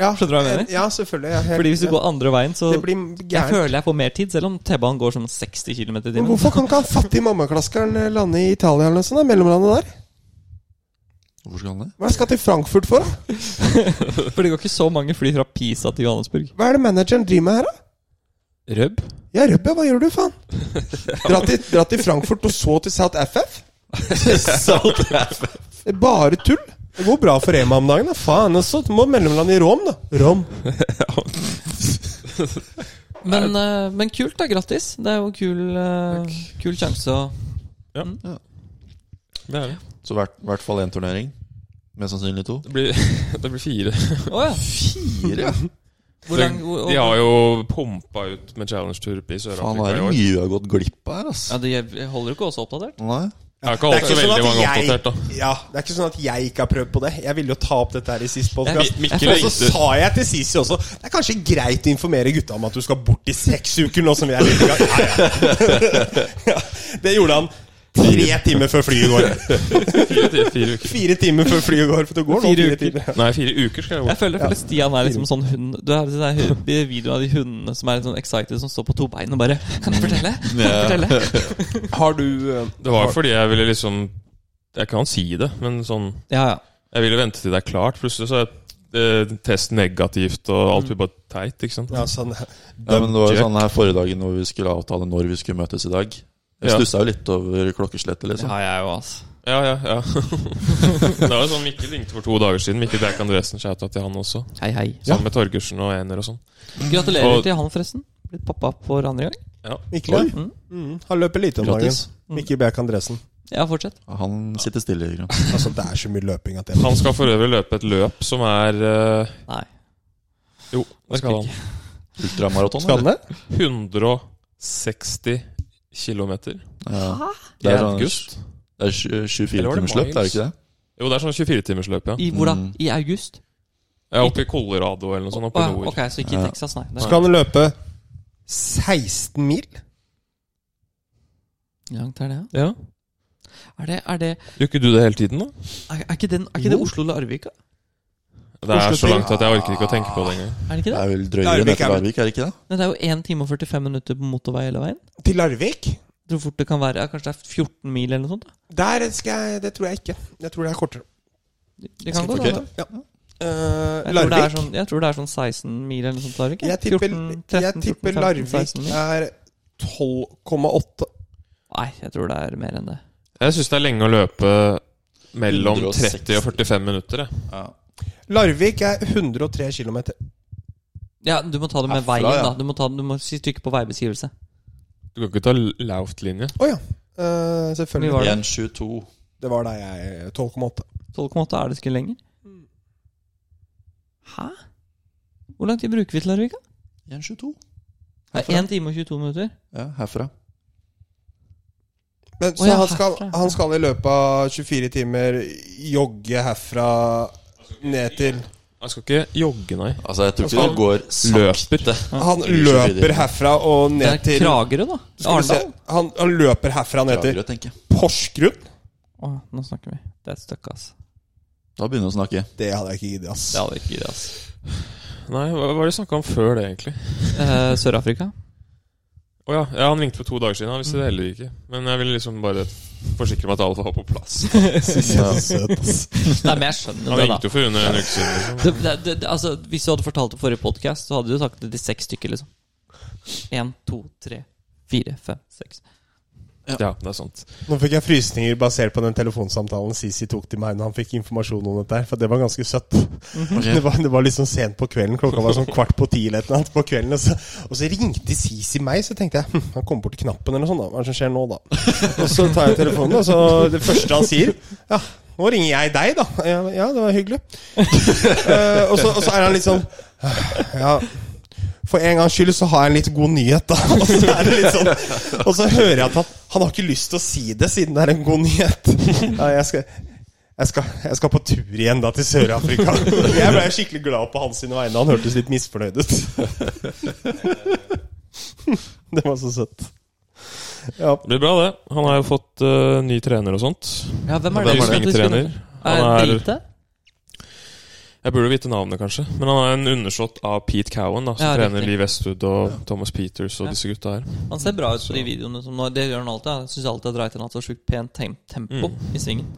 Ja,
Skjønner du hva jeg mener?
Ja, selvfølgelig. Ja, helt-
Fordi hvis du går andre veien, så
Det blir
jeg
gærent.
føler jeg får mer tid, selv om T-banen går sånn 60 km i
Men
timen.
hvorfor kan ikke han fattige mammaklaskeren eh, lande i Italia eller noe sånt? da? Mellomlandet der?
Hvorfor skal han det?
Hva skal han til Frankfurt for? da?
For det går ikke så mange fly fra Pisa til Johannesburg.
Hva er det manageren driver med her, da?
Røbb?
Ja, Røbbe, hva gjør du, faen? Dra til, dra til Frankfurt og så til South FF? Det er bare tull. Det går bra for Rema om dagen, da. Faen, og så må mellomlandet i Rom, da. Rom.
Men, eh, men kult, da. Grattis. Det er jo en kul, eh, kul sjanse å
Det er det.
Så i hvert, hvert fall én turnering. Mest sannsynlig to.
Det blir, det blir fire.
Å ja.
Fire?
Hvor lang, hvor,
De har jo pompa ut med Challenge-tur i
Faen, nå
Sør-Afrika
er
i
det
år.
mye vi har gått glipp av her, ass.
ja, de holder jo ikke også oppdatert.
Nei?
Jeg har ikke holdt så veldig mange oppdatert, da.
sånn jeg, ja, det er ikke sånn at jeg ikke har prøvd på det. Jeg ville jo ta opp dette her i sist podcast.
Mi- Mikkel
Og så
ringte.
sa jeg til Sisi også Det er kanskje greit å informere gutta om at du skal bort i seks uker nå som vi er litt i gang. Ja, ja. ja, det gjorde han tre timer før flyet går.
Fire, fire uker.
Fire timer før flyet går. For det går nå
Fire
fire
uker.
timer.
Nei, fire uker skal jeg
Jeg
bort.
føler, jeg føler Stian er liksom sånn hund Du har sånn der hu- de videoen av de hundene som er litt sånn excited, som står på to bein og bare Kan jeg fortelle? Kan jeg fortelle?
Har du eh,
Det var fordi jeg ville liksom Jeg kan si det, men sånn
Ja, ja.
Jeg ville vente til det er klart. Plutselig så er eh, test negativt, og alt blir bare teit. ikke sant?
ja, sånn,
Ja, men det var jo
Jack.
sånn her forrige dagen når vi skulle avtale når vi skulle møtes i dag. Jeg
Ja.
stussa jo litt over klokkeslettet, liksom.
Ja, jeg er jo, altså.
Ja, ja, ja. det var jo sånn Mikkel ringte for to dager siden. Mikkel Bjerk Andresen shouta til han også.
Hei, hei.
Sammen med Torgersen og Ener og sånn.
Gratulerer
Og-
til han, forresten. Blitt pappa for andre gang.
Ja.
Mikkel, ja.
Mm.
Mm, han løper lite om dagen.
Grattis.
Mikkel Bjerk Andresen.
Ja, fortsett.
Han sitter stille i grunnen.
Altså, det er så mye løping at det
Han skal for øvrig løpe et løp som er eh,
Nei.
Jo, det skal han.
Ultramaraton,
Skal han det?
160 km.
Ja. Det er
I
sånn
august.
Det er sju- 24
Eller var det
timersløp, det er det
miles?
ikke det?
Jo, det er sånn 24-timersløp, ja.
I hvor da?
Mm.
I august?
Jeg er oppe i Colorado eller noe sånt. Sånn oppe
Å,
i
ja,
nord.
ok, så ikke i
Ja.
Texas, nei. Det er
Skal han løpe 16 mil?
Hvor langt er det? ja?
Ja.
Er det, er det,
Gjør ikke du det hele tiden, da?
er, er ikke, den, er ikke det Oslo-Larvik? da?
Det er
Oslo
så
til-
langt at jeg orker ikke å tenke på det engang.
Er det ikke
Det
det?
er vel
Larvik
drøyere enn
er
etter
vel-
Larvik, er det ikke det?
Men det er jo 1 time og 45 minutter på motorvei hele veien.
Til Larvik?
Jeg tror fort det kan være ja, Kanskje det er 14 mil eller noe sånt? da
Der skal jeg Det tror jeg ikke. Jeg tror det er kortere.
Det kan gå,
Ok.
da. Jeg
Ja. Eh,
tror, det er
Larvik?
sånn, jeg tror det er sånn 16 mil eller noe sånt. Larvik,
Jeg tipper,
14, 13,
jeg tipper
14, 15,
Larvik
16 mil.
er 12,8.
Nei, jeg tror det er mer enn det.
Jeg syns det er lenge å løpe mellom
160.
30 og 45 minutter. Jeg.
Larvik er 103 km.
Ja, Du må ta det med
Herfra,
veien,
ja.
da. Du må, ta, du må si- trykke på veibeskrivelse.
Du kan ikke ta Laut-linje.
Å ja. Eh, selvfølgelig.
Hvor mye var det?
1,22.
Det var da jeg 12,8.
12,8 er det ikke lenger. Hæ? Hvor lang tid bruker vi til Larvik? da?
1,22.
Det er 1 time og 22 minutter.
Ja, herfra.
Men, så
Å ja,
han, skal,
herfra.
han skal i løpet av 24 timer jogge herfra ned til
Jeg skal ikke jogge, nei.
Altså, jeg tror ikke det går sakte.
Løper.
Han
24
løper herfra og
Det
ned
er
til
Kragerø, da.
Skal vi se.
Arendal.
Han, han løper herfra ned til
Lagrøt, tenker jeg.
Porsgrunn.
Å, nå snakker vi. Det er et stykke, ass.
Da begynner vi å snakke.
Det hadde jeg ikke giddet, ass.
Det hadde vi ikke giddet, ass.
Nei, Hva hva var det vi snakka om før det, egentlig?
Eh, Sør-Afrika?
Å ja. ja, han ringte for to dager siden. Han visste det heller ikke. Men jeg ville liksom bare forsikre meg at alt var på plass.
Nei, men jeg skjønner
Han
det, da.
ringte jo for under en uke siden. Liksom.
Det, det, det, det- altså, hvis du hadde fortalt det på forrige podkast, så hadde du sagt det til seks stykker, liksom. Én, to, tre, fire, fem, seks.
Ja, det er sant.
Nå fikk jeg frysninger basert på den telefonsamtalen Sisi tok til meg når han fikk informasjon om dette her, for det var ganske søtt. Det, var, det var liksom sent på kvelden, klokka var sånn kvart på ti eller et eller annet på kvelden, og så, og så ringte Sisi meg, så tenkte jeg hm, han kommer bort til knappen eller noe sånt, da. Hva er det som skjer nå, da? Og så tar jeg telefonen, og så det første han sier Ja, nå ringer jeg deg, da. Ja, ja det var hyggelig. Eh, og, så, og så er han litt sånn Ja. For en gangs skyld så har jeg en litt god nyhet, da. Og så, er det litt sånn, og så hører jeg at han, han har ikke lyst til å si det, siden det er en god nyhet. Ja, jeg skal... Jeg skal, jeg skal på tur igjen da til Sør-Afrika. Jeg ble skikkelig glad på hans sine vegne. Han hørtes litt misfornøyd ut. Det var så søtt. Ja.
Det blir bra, det. Han har jo fått eh, ny trener og sånt.
Ja, hvem er
Ny
det?
svingtrener. Han
Er
er
Delite?
Jeg burde vite navnet, kanskje. Men han er en undersått av Pete Cowan, da, som
Ja,
trener
riktig.
Lee Westwood og Thomas Peters og disse gutta her.
Han ser bra ut på de videoene som nå. Det gjør han alltid. Jeg syns alltid at Reiten har hatt så sjukt pent tem tempo i svingen.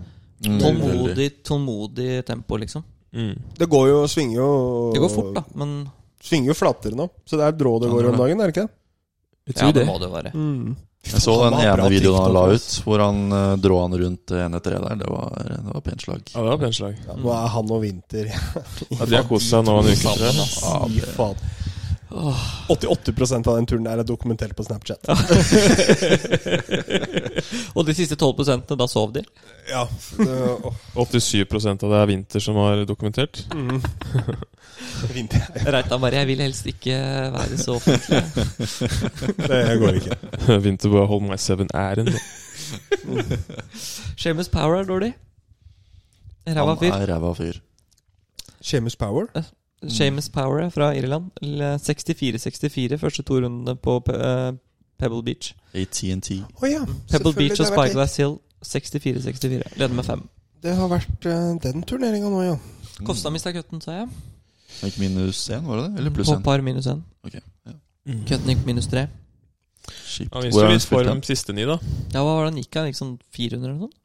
Mm,
Tålmodig, tålmodig tempo, liksom.
Mm.
Det går jo svinger jo
Det går fort, da, men
Svinger jo flatere nå. Så det er drå det Mm. går om dagen, er det ikke det?
Jeg
ja,
tror
det
det.
må det være.
Jeg så
Han
den
har bra
ene videoen han
TikTok,
la ut,
ass.
hvor han eh, drå han rundt eh, en etter en der. Det var, det var pent slag.
Ja, det var pent slag.
Ja, nå er han og Vinter
Ja, de har kost seg nå en uke, tror jeg.
Fy faen. 88 av den turen der er dokumentert på Snapchat.
Og de siste 12 da sov de.
Ja, det- åh,
87 av det er vinter som var dokumentert.
Mm. Vinter
Reitan bare 'Jeg vil helst ikke være så offentlig'.
Det går ikke.
Vinterboa Hold My Seven er en
Shamus Power er dårlig. Ræva
Han
fyr.
er ræva fyr.
Seamus Power?
Shamus Power er fra Irland. L- 64-64 første to rundene på Pe- eh, Pebble Beach.
ATNT.
Å ja.
Pebble
selvfølgelig,
Beach og
det har vært-
Spyglass Hill 64-64. Leder med fem.
Det har vært eh, den turneringa nå, ja.
Kofstad mista køtten, sa jeg.
Ikke minus én, var det det? Eller pluss
Mm, På
én?
par minus én.
Ok, ja.
Køtten gikk minus tre.
Kjipt.
Han
Hvor
viser
er han
litt
spilt
form
hen?
siste ni, da.
Ja, hva var det han gikk av? Gikk sånn 400 eller noe sånt?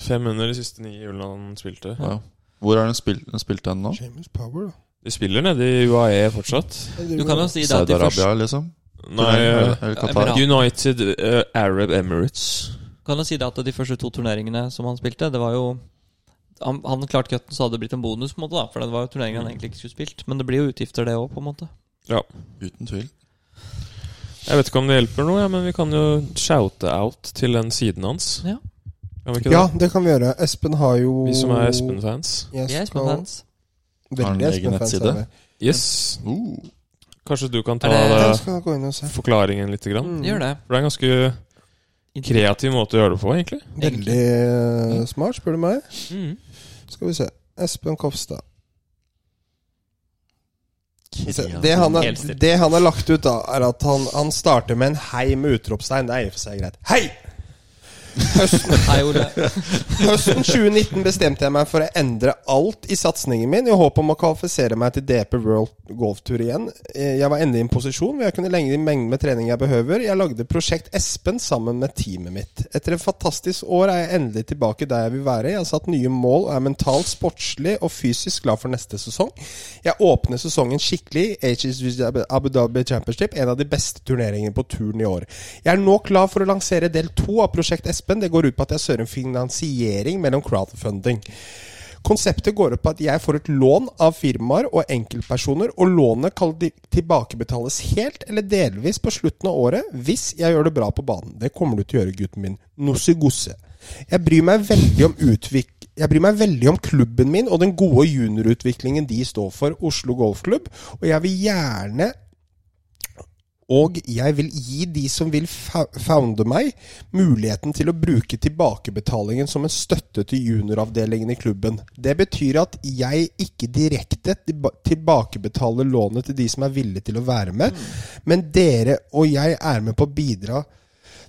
500 de siste ni hjulene han spilte.
Ja. Hvor er han spilt, han spilt hen nå?
Seamus Power, da.
De spiller nede i UAE fortsatt.
Du kan jo si da at de første,
Saudi-Arabia, liksom?
Nei,
Eller
eh,
eller
Emirat.
Qatar?
United eh, Arab Emirates.
kan jo si da at de første to turneringene som han spilte, det var jo han, han klarte cutten, så hadde det blitt en bonus, på en måte da for det var jo turneringer han egentlig ikke skulle spilt. Men det blir jo utgifter, det òg, på en måte.
Uten tvil.
Jeg vet ikke om det hjelper noe, ja, men vi kan jo shoute out til den siden hans.
Ja.
Kan vi ikke
Ja,
det?
det kan vi gjøre. Espen har jo
Vi som er Espen-fans.
Jeg
Jeg er
skal-
Espen-fans.
Veldig
Har han egen
Espen-fans
nettside?
er det.
Yes.
Uh.
Kanskje du kan ta
Er det-
Jeg
det,
skal gå inn og se.
forklaringen litt? Grann.
Mm.
Gjør det.
For det er en ganske kreativ måte å gjøre det på, egentlig.
Veldig
Mm.
eh, smart, spør du meg. Skal vi se. Espen Kopstad. Se, Det han, er,
Helt stille.
det han har lagt ut, da, er at han, han starter med en hei med utropstegn. Det er i og for seg greit. Hei! Høsten,
Hei, Ole.
høsten 2019 bestemte jeg meg for å endre alt i satsingen min i håp om å kvalifisere meg til DP World Golf Tour igjen. Eh, Jeg var endelig i en posisjon hvor jeg kunne legge inn mengden med trening jeg behøver. Jeg lagde Prosjekt Espen sammen med teamet mitt. Etter et fantastisk år er jeg endelig tilbake der jeg vil være. Jeg har satt nye mål og er mentalt, sportslig og fysisk klar for neste sesong. Jeg åpner sesongen skikkelig i HSV Abu Dhabi Championship, en av de beste turneringene på turen i år. Jeg er nå klar for å lansere del to av Prosjekt Espen. Det går ut på at jeg søker en finansiering mellom crowdfunding. Konseptet går ut på at jeg får et lån av firmaer og enkeltpersoner, og lånet kan de- tilbakebetales helt eller delvis på slutten av året hvis jeg gjør det bra på banen. Det kommer du til å gjøre, gutten min. Nossigosse. Jeg bryr meg veldig om utvik jeg bryr meg veldig om klubben min og den gode juniorutviklingen de står for, Oslo Golfklubb, og jeg vil gjerne og jeg vil gi de som vil fa- founde meg, muligheten til å bruke tilbakebetalingen som en støtte til junioravdelingen i klubben. Det betyr at jeg ikke direkte tilba- tilbakebetaler lånet til de som er villige til å være med, men dere og jeg er med på å bidra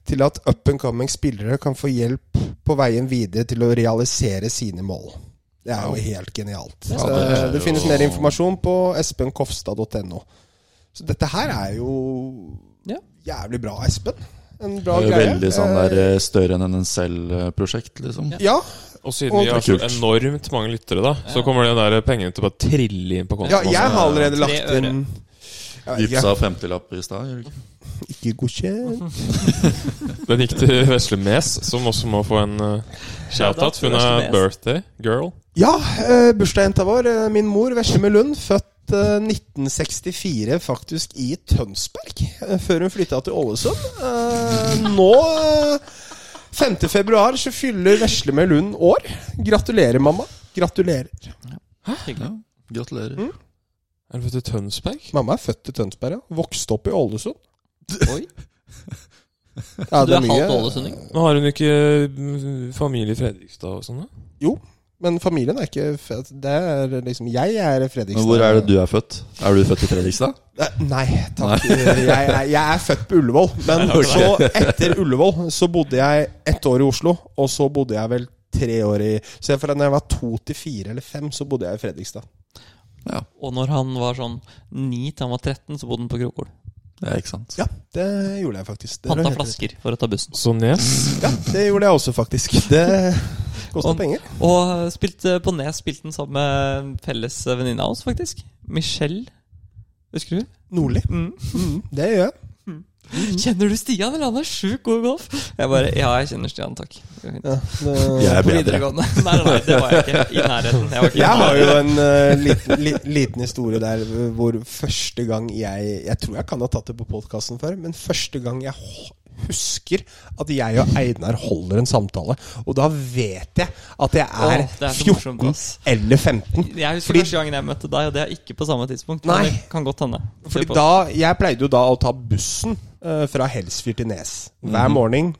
til at up and coming spillere kan få hjelp på veien videre til å realisere sine mål. Det er jo helt genialt.
Ja,
Så
det er
det
jo-
finnes mer informasjon på espenkofstad.no. Så dette her er jo
Ja.
jævlig bra, Espen. En bra
Det er jo
greie.
Veldig sånn
Eh,
der eh, større enn en selv-prosjekt, liksom.
Ja,
Og siden
Og-
vi har så
Kult.
enormt mange lyttere, da, så kommer de der pengene til å bare trille inn på kontoen.
ja, jeg har allerede
Tre
lagt
øre.
inn Ja, jeg
Vipsa 50-lapp i stad. gjør du ikke?
er Ikke godkjent.
Den gikk til Vesle Mes, som også må få en uh, shout-out. Hun er
Vesle Mes.
birthday girl.
Ja, eh, bursdagsjenta vår, eh, min mor, Veslemø Lund, født eh, 1964, faktisk i Tønsberg, eh, før hun flytta til Ålesund. Eh, Nå, eh, 5. februar, så fyller Veslemø Lund år. Gratulerer, mamma. Gratulerer.
Ja, gratulerer.
Er hun fra Tønsberg?
Mamma er født i Tønsberg, ja. Vokste opp i Ålesund.
Oi.
Ja,
Du
det
er
mye-
halvt ålesunding.
Men har hun ikke mm, familie i Fredrikstad og sånn? da?
Men familien er ikke født Det er liksom Jeg er Fredrikstad. Eh,
Men hvor er det du er født? Er du født i Fredrikstad?
Nei, takk. Jeg, er- jeg er født på Ullevål. Men så, etter Ullevål, så bodde jeg ett år i Oslo. Og så bodde jeg vel tre år i Så jeg- fra da jeg var to til fire eller fem, så bodde jeg i Fredrikstad.
Ja.
Og når han var sånn 9 til han var 13, så bodde han på Krokol.
Ja, ikke sant?
Ja, det gjorde jeg faktisk. Det var
Panta
helt-
flasker for å ta bussen.
Så Nes
Ja, det gjorde jeg også, faktisk. Det kosta
Og-
penger.
Og spilte på Nes spilte han sammen med en felles eh, venninne av oss, faktisk. Michelle. Husker du?
Nordlig.
Mm.
Mm, det gjør jeg. Mhm.
Kjenner du Stian, eller? Han er sjukt god i golf. Jeg bare Ja, jeg kjenner Stian, takk. Det går fint.
Ja, det...
Jeg er
På
bedre.
videregående. Nei, nei, det var jeg ikke. I nærheten. Jeg var ikke
Jeg har jo en eh, liten, li, liten historie der hvor første gang jeg Jeg tror jeg kan ha tatt det på podkasten før, men første gang jeg h- husker at jeg og Einar holder en samtale, og da vet jeg at jeg er,
Åh, det er så
14
morsomt, ass.
eller 15.
Jeg husker
Fordi-
første gangen jeg møtte deg, og det er ikke på samme tidspunkt.
Nei.
Men det kan godt hende.
Fordi
Kjør på.
da, Jeg pleide jo da å ta bussen eh, fra Helsfyr til Nes. Hver
Mhm.
morgen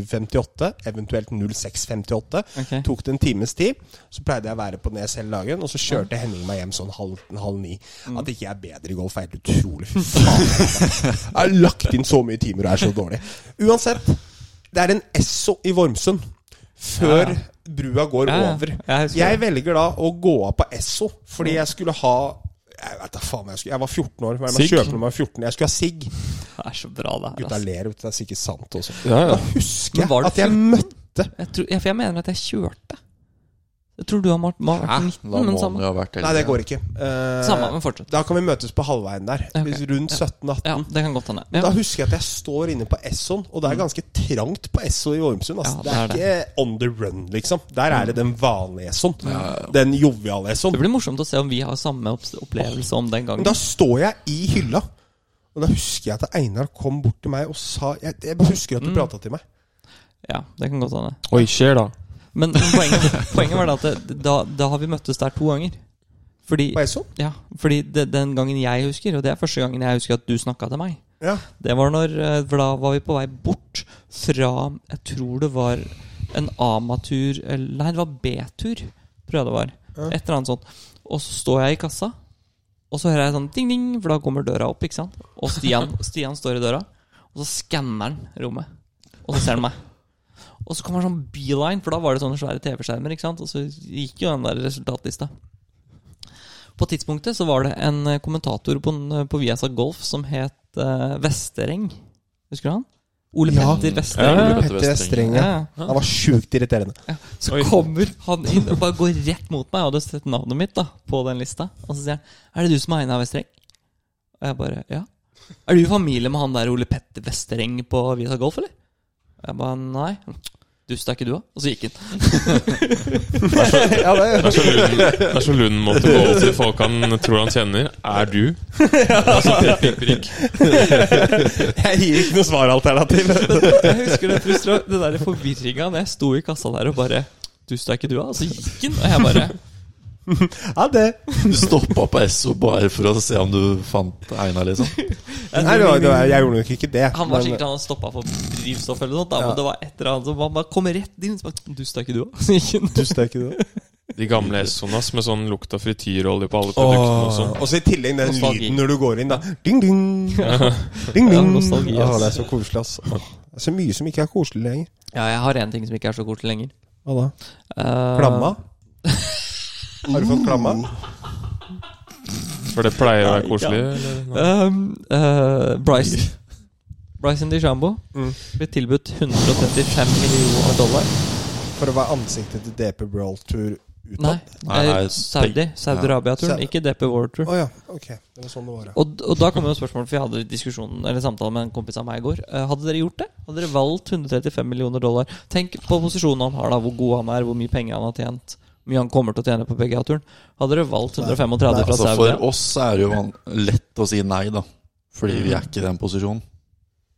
07.58, eventuelt 06.58.
Ok.
Tok det en times tid. Så pleide jeg å være på Nes hele dagen, og så kjørte Henning meg hjem sånn halv, halv ni.
Mm.
At ikke jeg er bedre i golf, er helt utrolig. Fy faen. Jeg har lagt inn så mye timer og er så dårlig. Uansett, det er en Esso i Vormsund. Før brua går
Ja, ja.
over.
Jeg husker
Jeg
det.
velger da å gå av på Esso, fordi jeg skulle ha Jeg vet da faen hva jeg skulle Jeg var 14 år. Hva er det man
Sigg?
kjøper når man er 14? Jeg skulle ha sigg.
Det er altså. så bra, det her.
Gutta
ass.
ler, vet du. Det er sikkert sant også.
Ja, ja.
Da husker
Men var
jeg
du
at jeg
14?
møtte
Jeg tror, ja, for jeg mener at jeg kjørte. Jeg tror du har vært må ha vært 19,
Da må
men
han
samme.
jo ha vært
Nei, det går ikke. Eh,
Samme, men fortsett.
Da kan vi møtes på halvveien der.
Ja, ok.
Hvis Rundt 17-18.
Ja, det kan godt hende.
Da
Ja.
husker jeg at jeg står inne på Esson, og det er ganske trangt på Esso i Vormsund. Altså.
Ja,
det,
det
er
er
ikke on the run, liksom. Der er det den vanlige Esson. Den joviale Esson.
Det blir morsomt å se om vi har samme opps- opplevelse om den gangen.
Men da står jeg i hylla, og da husker jeg at Einar kom bort til meg og sa Jeg, jeg bare husker at du prata til meg.
Ja, det kan godt hende.
Oi, skjer da
Men poenget, poenget var da at det, da, da har vi møttes der to ganger. Fordi,
På Esson?
ja, fordi det, den gangen jeg husker, og det er første gangen jeg husker at du snakka til meg
Ja.
Det var når eh, For da var vi på vei bort fra Jeg tror det var en AMA-tur eller- Nei, det var B-tur, tror jeg det var. Et eller annet sånt. Og så står jeg i kassa, og så hører jeg sånn ding-ding, for da kommer døra opp, ikke sant? Og Stian, Stian står i døra, og så skanner han rommet. Og så ser han meg. Og så kommer han sånn beeline, for da var det sånne svære TV-skjermer, ikke sant? Og så gikk jo den der resultatlista. På tidspunktet så var det en eh, kommentator på, en- på Viasa Golf som het eh, Vestereng. Husker du han? Ole
Ah.
Ja.
Petter Vestereng.
Ja,
Petter
Petter
Vestreng.
Streng, ja. Han var sjukt irriterende.
Så
Oi.
kommer han inn og bare går rett mot meg. Jeg hadde sett navnet mitt da på den lista. Og så sier han 'Er det du som er Einar Vestereng?' Og jeg bare 'Ja'. 'Er du i familie med han der Ole Petter Vestereng på Vita Golf, eller?' Jeg bare 'Nei'. 'Dust er ikke du, da?' Og så gikk han.
Ja, det,
Det er så lund, det er så lund måte å gå opp til folk han tror han kjenner Er du? Altså, prikk, prikk, prikk
jeg gir ikke noe svaralternativ.
Jeg husker den, frustra- den der forvirringa da jeg sto i kassa der og bare 'Dust er ikke du, da?' Og så gikk han. Og jeg bare
Ha det.
Du stoppa på Esso bare for å se om du fant Einar, liksom.
Nei, det var, det var, jeg gjorde nok ikke det.
Han var
men- eh,
sikkert han hadde stoppa for drivstoff eller noe sånt. Da, men det var et eller annet som han bare kom rett inn. Så bare 'Dust er ikke du, da?' Så gikk han.
Dust er ikke det.
De gamle Essonas med sånn lukt av frityrolje på alle produktene og sånn
Og så i tillegg den
Nostalgi.
lyden når du går inn, da. Ding, ding. Ding,
Ja,
ding.
nostalgi, ass.
Å, det er så koselig, ass. Det er så mye som ikke er koselig lenger.
Ja, jeg har én ting som ikke er så kort lenger.
Hva
Eh,
da? Ah. Klamma? Har du fått klamma?
For det pleier å være koselig eller?
ehm, eh, Bryson. Bryson DeChambeau
Mm.
ble tilbudt 135 millioner dollar.
For å være ansiktet til DP Brawl-tur utad?
Nei,
Nei, nei,
eh, Saudi. Saudi-Arabia-turen,
Ja.
ikke DP World-turen.
Å ja, ok. Det var sånn det var, ja.
Og, og da kommer jo spørsmålet, for jeg hadde diskusjonen Eller samtalen med en kompis av meg i går. Eh, hadde dere gjort det? Hadde dere valgt 135 millioner dollar? Tenk på posisjonen han har, da hvor god han er, hvor mye penger han har tjent. Hvor mye han kommer til å tjene på PGA-turen. Hadde dere valgt 135
Nei,
fra
Altså,
Saudi?
for oss er det jo van- lett å si nei, da. Fordi vi er ikke i den posisjonen.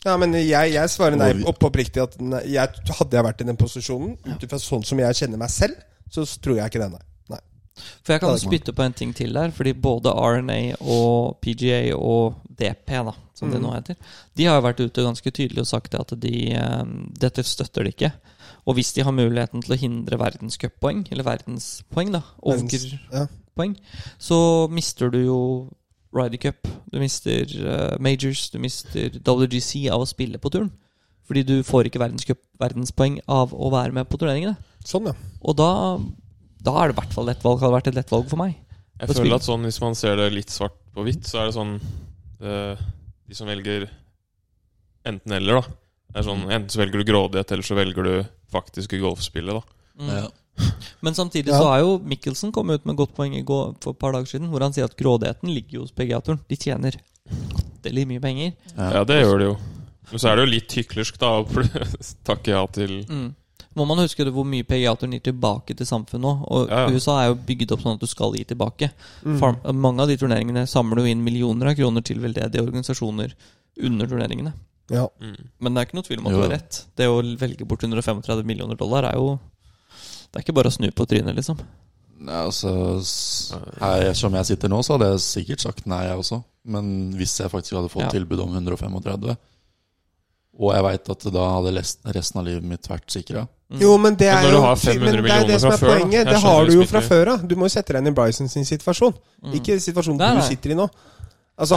Ja, men jeg, jeg svarer nei
Og vi-
opp oppriktig at nei, jeg, hadde jeg vært i den posisjonen, ut ifra sånn som jeg kjenner meg selv, så s- tror jeg ikke det, nei. nei.
For jeg
Ja,
kan
det kan
spytte på en ting til der, fordi både RNA og PGA og DP, da, som
Mm.
det nå heter, de har jo vært ute ganske tydelig og sagt at de, eh, dette støtter de ikke. Og hvis de har muligheten til å hindre verdenscuppoeng, eller verdenspoeng, da,
Verdens-
overpoeng,
ja.
så mister du jo Ryder Cup, du mister eh, Majors, du mister WGC av å spille på turen. Fordi du får ikke verdenscup, verdenspoeng av å være med på turneringene.
Sånn, ja.
Og da, da er det i hvert fall lett valg. Hadde vært et lett valg for meg.
Jeg
På
føler
spill.
at sånn, Hvis man ser det litt svart på hvitt, så er det sånn eh, De som velger enten-eller, da. Det er sånn, Enten så velger du grådighet, eller så velger du faktiske golfspillet. da
Mm.
Ja.
Men samtidig
Ja.
så er jo Mikkelsen kommet ut med et godt poeng i går for et par dager siden, hvor han sier at grådigheten ligger jo hos PGA-turen. De tjener latterlig mye penger.
Ja, det gjør det jo. Men så er det jo litt hyklersk, da, å pl- takke ja til
Mm.
Må man huske det hvor mye PGA-turen gir tilbake til samfunnet òg. Og
Ja, ja.
USA er jo bygd opp sånn at du skal gi tilbake. Farm, mange av de turneringene samler jo inn millioner av kroner til veldedige organisasjoner under turneringene.
Ja.
mm.
Men det er ikke noe tvil om at
Jo.
du har rett. Det å velge bort 135 millioner dollar er jo Det er ikke bare å snu på trynet, liksom.
Nei, altså s- her, Som jeg sitter nå, så hadde jeg sikkert sagt nei, jeg også. Men hvis jeg faktisk hadde fått
Ja.
tilbud om 135 Og jeg veit at da hadde resten, resten av livet mitt vært sikra.
Jo, men det
Mm. Men
er jo
når du
men
har 500
det, er
millioner
det som
fra
er
før, da.
poenget.
Jeg
Det
skjønner
har
det Mm.
du jo
spiller
fra
ikke.
før av. Du må jo sette deg inn i Bryson sin situasjon. Ikke situasjonen
Der,
du
nei.
sitter i nå. Altså,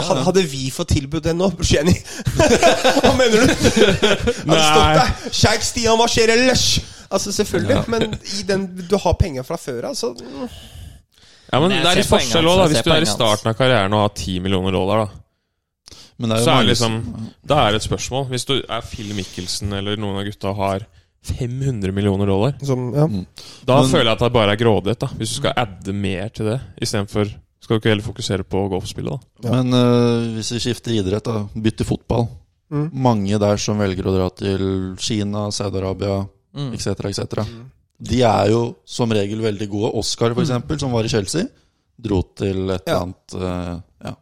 Ja, ja.
had- Hadde vi fått tilbudt det nå, Jenny? Hva mener du? Hadde stått der Sjeik Stian marsjerer lush! Altså, selvfølgelig. Men i den, du har penger fra før av, så mm.
Ja, men
Men jeg
Det er
ser
litt
altså.
forskjell
poenget
òg,
hans, jeg
hvis
ser
du er i
poenget hans.
starten av karrieren og har 10 millioner dollar. da
Men det er jo
Så er
mange
det liksom
som-
Da er det et spørsmål. Hvis du er Phil Mickelson eller noen av gutta har 500 millioner dollar,
Som, ja.
da
Men-
føler jeg at det bare er grådighet. da Hvis du skal adde mer til det, istedenfor Skal du ikke heller fokusere på golfspillet, da?
Ja.
Men øh, hvis vi skifter idrett, da. Bytter fotball.
Mm.
Mange der som velger å dra til Kina, Saudi-Arabia
Mm.
etc., etc. De er jo som regel veldig gode. Oscar, for eksempel, som var i Chelsea, dro til et eller
Mm. Ja.
annet øh, ja.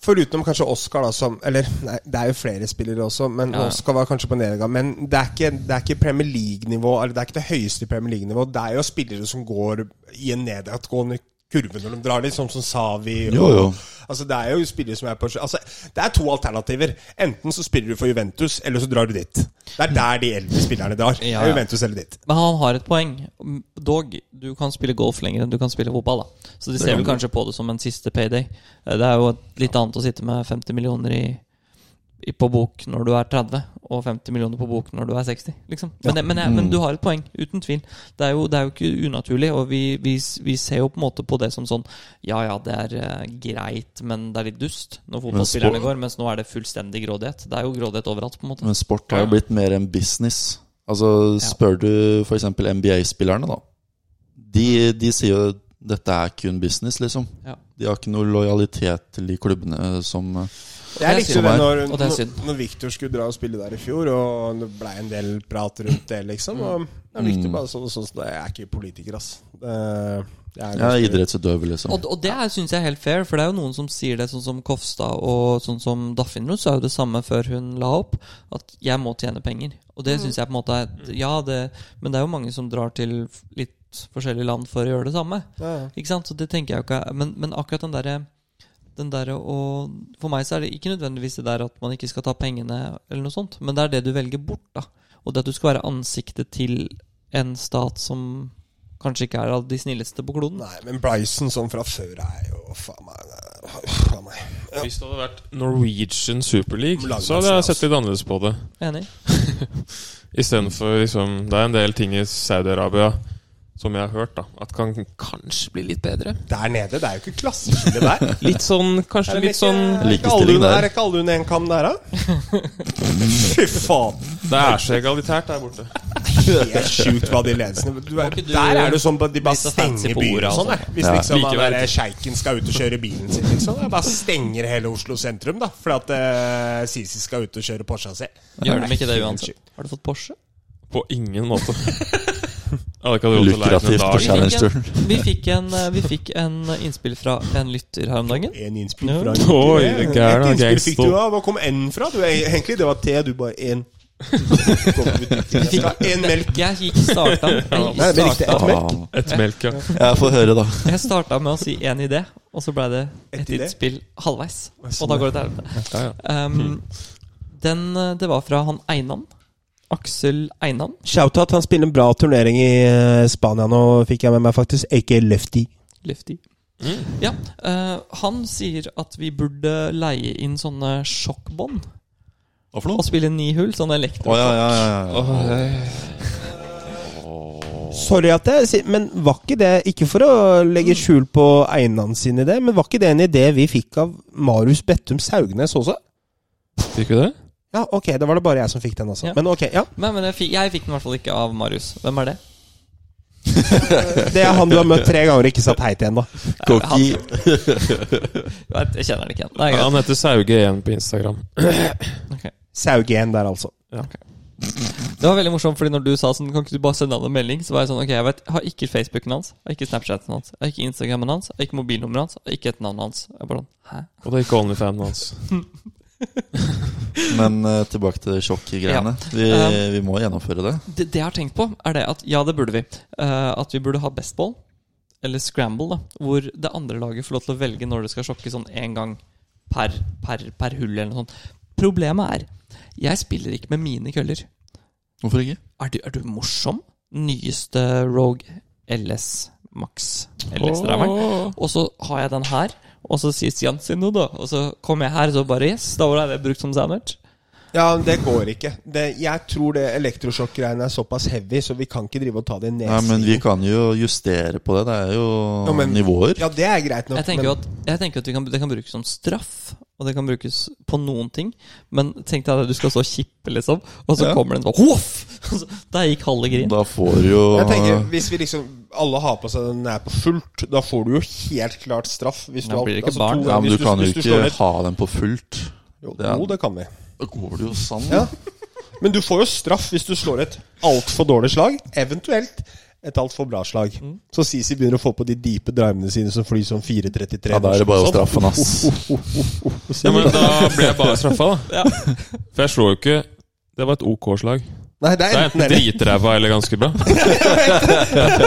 Forutenom kanskje Oscar, da, som Eller nei, det er jo flere spillere også, men
Ja, ja.
Oscar var kanskje på nedgang. Men det er ikke, det er ikke Premier League-nivå, eller det er ikke det høyeste Premier League-nivå. Det er jo spillere som går i en nedadgående kurve når de drar, litt sånn som Savi. og-
Jo, jo.
Altså, det er jo spillere som er på Altså, det er to alternativer. Enten så spiller du for Juventus, eller så drar du dit. Det er der de eldre spillerne drar. Det
Mm. Ja,
er
ja.
Juventus eller dit.
Men han har et poeng. Dog, du kan spille golf lenger enn du kan spille fotball. da Så de ser vel kanskje på det som en siste payday. Eh, Det er jo et litt annet å sitte med 50 millioner i, i, på bok når du er 30, og 50 millioner på bok når du er 60. Liksom. Men, det, men, jeg, men du har et poeng, uten tvil. Det er jo, det er jo ikke unaturlig, og vi, vi, s- vi ser jo på en måte på det som sånn Ja ja, det er eh, greit, men det er litt dust når fotballspillerne går, mens nå er det fullstendig grådighet. Det er jo grådighet overalt, på en måte.
Men sport har jo blitt mer enn business. Altså, spør du f.eks. NBA-spillerne, da. De, de sier jo dette er kun business, liksom.
Ja.
De har ikke noe lojalitet til de klubbene eh, som eh,
Jeg likte jo det
synd.
når,
Og det er synd.
når Victor skulle dra og spille der i fjor, og det blei en del prat rundt det, liksom. Og det er
Mm.
viktig bare sånn, sånn, sånn Jeg er ikke politiker, ass. Det, jeg er
ja, idrettsutøver, liksom.
Og, og det syns jeg er helt fair, for det er jo noen som sier det, sånn som Kofstad og sånn som Daffinro, så er jo det samme før hun la opp, at 'jeg må tjene penger'. Og
Mm.
det syns jeg på en måte er Ja, det Men det er jo mange som drar til f- litt forskjellige land for å gjøre det samme.
Ja, ja.
Ikke sant? Så det tenker jeg jo ikke er- Men, men akkurat den derre den der å- For meg så er det ikke nødvendigvis det der at man ikke skal ta pengene, eller noe sånt, men det er det du velger bort, da. Og det at du skal være ansiktet til en stat som kanskje ikke er av de snilleste på kloden.
Nei, men Bryson sånn fra før er jo Faen meg. Faen meg.
Hvis det hadde vært Norwegian Super League,
Lagmasse,
så hadde jeg
altså.
sett litt annerledes på det.
Enig?
Istedenfor liksom Det er en del ting i Saudi-Arabia som jeg har hørt, da at kan kanskje bli litt bedre.
Der nede, det er jo ikke klasseskille der.
Litt sånn Kanskje
Er det
litt sånn
ikke- er ikke alle
Likestilling
under-
der.
Er ikke alle under en kam der, da? Fy faen.
Det er så egalitært der borte.
helt sjukt hva de ledelsene du er,
ikke du
Der er det sånn at de bare
litt så fancy
stenger
på
byer
ordet,
og sånn.
altså?
der. Hvis
Ja.
liksom han
Likevel.
der sjeiken skal ut og kjøre bilen sin, liksom. da, Bare stenger hele Oslo sentrum, da. Fordi at eh, Sisi skal ut og kjøre Porscha si.
Gjør de ikke det uansett? Har du fått Porsche?
På ingen måte. Jeg hadde ikke hatt råd til å leie den en
Lukrativt på
dag.
Challenge-turen.
Vi fikk en, eh, vi fikk en eh, innspill fra en lytter her om dagen.
En innspill
Ja.
fra
Oi,
Et
det er gæren,
innspill fikk
gangster.
du av. Hvor kom N fra? Du, egentlig det var T, du bare én. Jeg skal ha én melk.
Jeg gikk starta,
Nei, det
jeg
er riktig.
starta,
Et melk.
Ah,
Et melk, ja.
jeg får høre, da.
jeg starta med å si én idé, og så ble det
Et
et
idé? sånn,
innspill halvveis. Og da går det til helvete.
Ja, ja.
Um, den, eh, det var fra han Einan. Aksel Einan.
Shoutout. Han spiller en bra turnering i eh, Spania nå, fikk jeg med meg, faktisk. Ikke Lefty.
Lefty.
Mm.
Ja, eh, han sier at vi burde leie inn sånne sjokkbånd
Hva for
og
noe?
spille ni hull, sånn
Å,
elektro.
ja, ja, ja, ja.
Åh,
Sorry at jeg sier Men var ikke det Ikke for å legge skjul på Einan sin idé, men var ikke det en idé vi fikk av Marius Bettum Saugnes også?
Fikk vi det?
Ja, ok, da var det bare jeg som fikk den, altså.
Ja.
Men ok, ja.
Nei, men jeg fikk, jeg fikk den i hvert fall ikke av Marius. Hvem er det?
Det er han du har møtt tre ganger og ikke sagt hei til ennå.
Cocky.
Jeg vet- jeg kjenner den ikke igjen. Det er
Ja,
greit.
han heter Sauge igjen på Instagram.
Saugen der, altså.
Det var veldig morsomt, fordi når du sa sånn, kan ikke du bare sende han en melding, så var jeg sånn, ok, jeg vet, jeg har ikke Facebooken hans, jeg har ikke Snapchaten hans, jeg har ikke Instagrammen hans, jeg har ikke mobilnummeret hans, jeg har ikke et navn hans. Jeg bare sånn, hæ?
Og det er ikke OnlyFan hans.
Men eh, tilbake til sjokkgreiene. Vi,
Ja.
vi må gjennomføre det.
Det, det jeg har tenkt på, er det at, ja, det burde vi, Eh, at vi burde ha bestball, eller scramble da, hvor det andre laget får lov til å velge når det skal sjokke sånn en gang per, per, per hull eller noe sånt. Problemet er, jeg spiller ikke med mine køller.
Hvorfor ikke?
Er du, er du morsom? Nyeste Rogue LS Max. LS-driveren. Og så har jeg den her, og så sier Stian sin noe, da. Og så kommer jeg her, og så bare yes, da var det brukt som sandwich.
Ja, men det går ikke. Det, jeg tror det elektrosjokk-greiene er såpass heavy, så vi kan ikke drive og ta det i
Nei,
nesen.
men vi kan jo justere på det. Det er jo
Ja, men-
nivåer.
Ja, det er greit nok.
Jeg tenker jo at, jeg tenker at vi kan, det kan brukes som straff, og det kan brukes på noen ting. Men tenk deg at du skal stå og kippe, liksom, og så
Ja.
kommer det en sånn hoff! Og så- Der gikk halve grin.
Da får du jo
Jeg tenker, Hvis vi liksom alle har på seg den er på fullt, da får du jo helt klart straff. Hvis
Da
du har-
blir det ikke
altså,
barn.
to-
Ja, men
hvis
du kan jo
hvis
ikke
slår ned-
ha den på fullt.
Jo,
det er-
jo, det kan vi.
Da går det jo sånn.
Ja. Men du får jo straff hvis du slår et altfor dårlig slag. Eventuelt et altfor bra slag.
Mm.
Så Sisi begynner å få på de dype drivene sine som flyr som 4.33.
Ja, da er det bare å
Sånn.
straffe den, ass.
Ja, men da ble jeg bare straffa, da.
Ja.
For jeg slo jo ikke Det var et OK slag.
Nei, det
Det
er
er
enten
enten
eller.
dritræva eller ganske bra.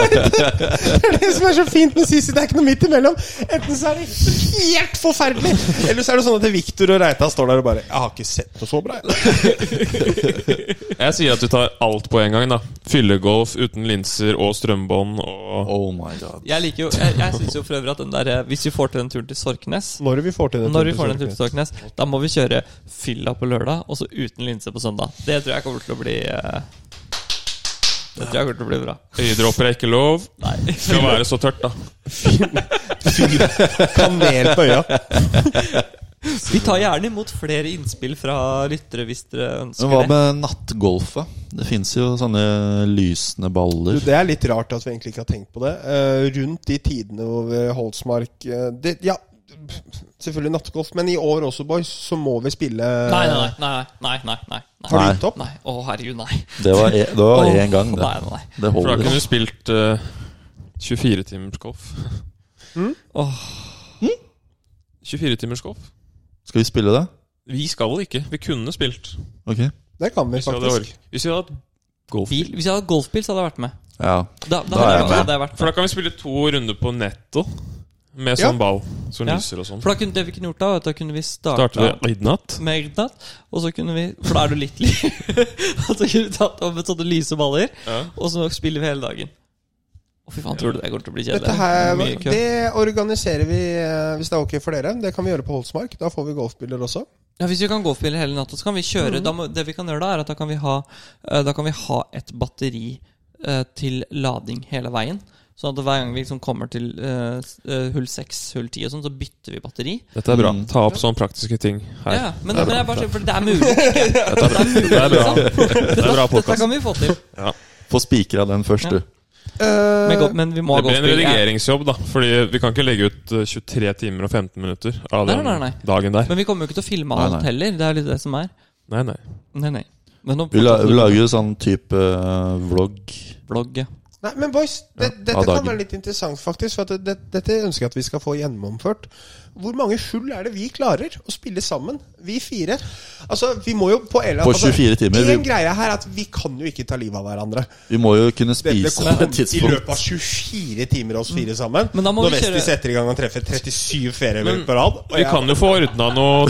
Det som er så fint med Sisi, det er ikke noe midt imellom. Enten så er det helt forferdelig, eller så er det sånn at Viktor og Reitan står der og bare 'Jeg har ikke sett noe så bra', jeg.
Jeg sier at vi tar alt på en gang, da. Fyllegolf uten linser og strømbånd og
Oh my god.
Jeg liker jo, jeg, jeg syns jo for øvrig at den der eh, Hvis vi får til den turen til Sorknes
Når vi får til det.
Når vi får den turen til Sorknes, da må vi kjøre fylla på lørdag, og så uten linse på søndag. Det tror jeg kommer til å bli eh, Det tror jeg kommer til å bli bra.
øyedråper er ikke lov.
Nei.
Det skal være så tørt, da.
Kanel på øya.
Vi tar gjerne imot flere innspill fra lyttere hvis dere
Men hva
ønsker det.
med nattgolfet? Det fins jo sånne lysende
Du,
baller.
det er litt rart at vi egentlig ikke har tenkt på det. Eh, rundt de tidene over Holsmark eh, det, Ja, selvfølgelig nattgolf, men i år også, boys, så må vi spille
Nei, nei, nei. nei, nei, nei, nei,
Har
Nei.
du gitt opp?
nei. Å, herregud, nei.
Det var e- det var
Åh,
én gang, det.
Nei, nei, nei.
Det
For da kunne
holder.
du spilt eh, 24 timers golf.
Åh.
24 timers golf?
Skal vi spille det?
Vi skal ikke. Vi kunne spilt.
Ok.
Det kan vi
Hvis vi hadde
faktisk.
ork. Hvis vi hadde hatt golf.
Bil, hvis jeg hadde hatt golfbil, så hadde jeg vært med.
Ja.
Da, da,
Da
hadde,
er
jeg,
jeg med.
hadde jeg vært med.
For da kan vi spille to runder på netto med
Ja.
sånn ball som
Ja.
lyser og sånn.
For da kunne, det vi kunne gjort da, var at da kunne vi
Starter
starta
vi midnatt?
med Egnatt, og så kunne vi For da er du litt lik. og så kunne vi tatt opp med sånne lyse baller,
Ja.
og så spiller vi hele dagen. Å, fy faen, tror du det kommer til å bli kjedelig?
Dette her,
Mye kø.
det organiserer vi, eh, hvis det er ok for dere. Det kan vi gjøre på Holsmark. Da får vi golfbiler også.
Ja, Hvis vi kan golfspille hele natta, så kan vi kjøre da må, Det vi kan gjøre da, er at da kan vi ha, eh, da kan vi ha et batteri eh, til lading hele veien. Sånn at hver gang vi liksom kommer til eh, s- eh, hull 6, hull 10 og sånn, så bytter vi batteri.
Dette er bra.
Mm.
Ta opp sånne praktiske ting her.
Ja, men, men jeg bare sier, for det er mulig. ikke?
Dette er bra. Det er bra, det er bra
Dette
podcast.
kan vi få til.
Få spikra den først, du.
Eh,
Men, go- men vi må ha
Det blir en
golfbil. Ja.
redigeringsjobb, da. Fordi vi kan ikke legge ut eh, 23 timer og 15 minutter av
Nei,
den
nei, nei.
dagen der.
Men vi kommer jo ikke til å filme
Nei,
alt
nei.
heller. Det er jo litt det som er.
Nei, nei.
Nei, nei. Men nå
Vi, la, vi lager jo sånn type eh, vlogg.
blogg, ja.
Nei, men boys, det,
Ja,
dette
av
kan
dagen.
være litt interessant, faktisk. For at det, det, dette ønsker jeg at vi skal få gjennomført. Hvor mange hull er det vi klarer å spille sammen? Vi fire. Altså, vi må jo på Ella
På 24 timer,
Altså, En
vi-
greie her er at vi kan jo ikke ta livet av hverandre.
Vi må jo kunne
Dette
spise
kom
på et
i
tidspunkt.
løpet av 24 timer, oss fire sammen.
Men da må
Når
vi kjøre-
Vesti setter i gang og treffer 37 feriehull på rad. og
Vi
jeg-
kan jo få ordna noe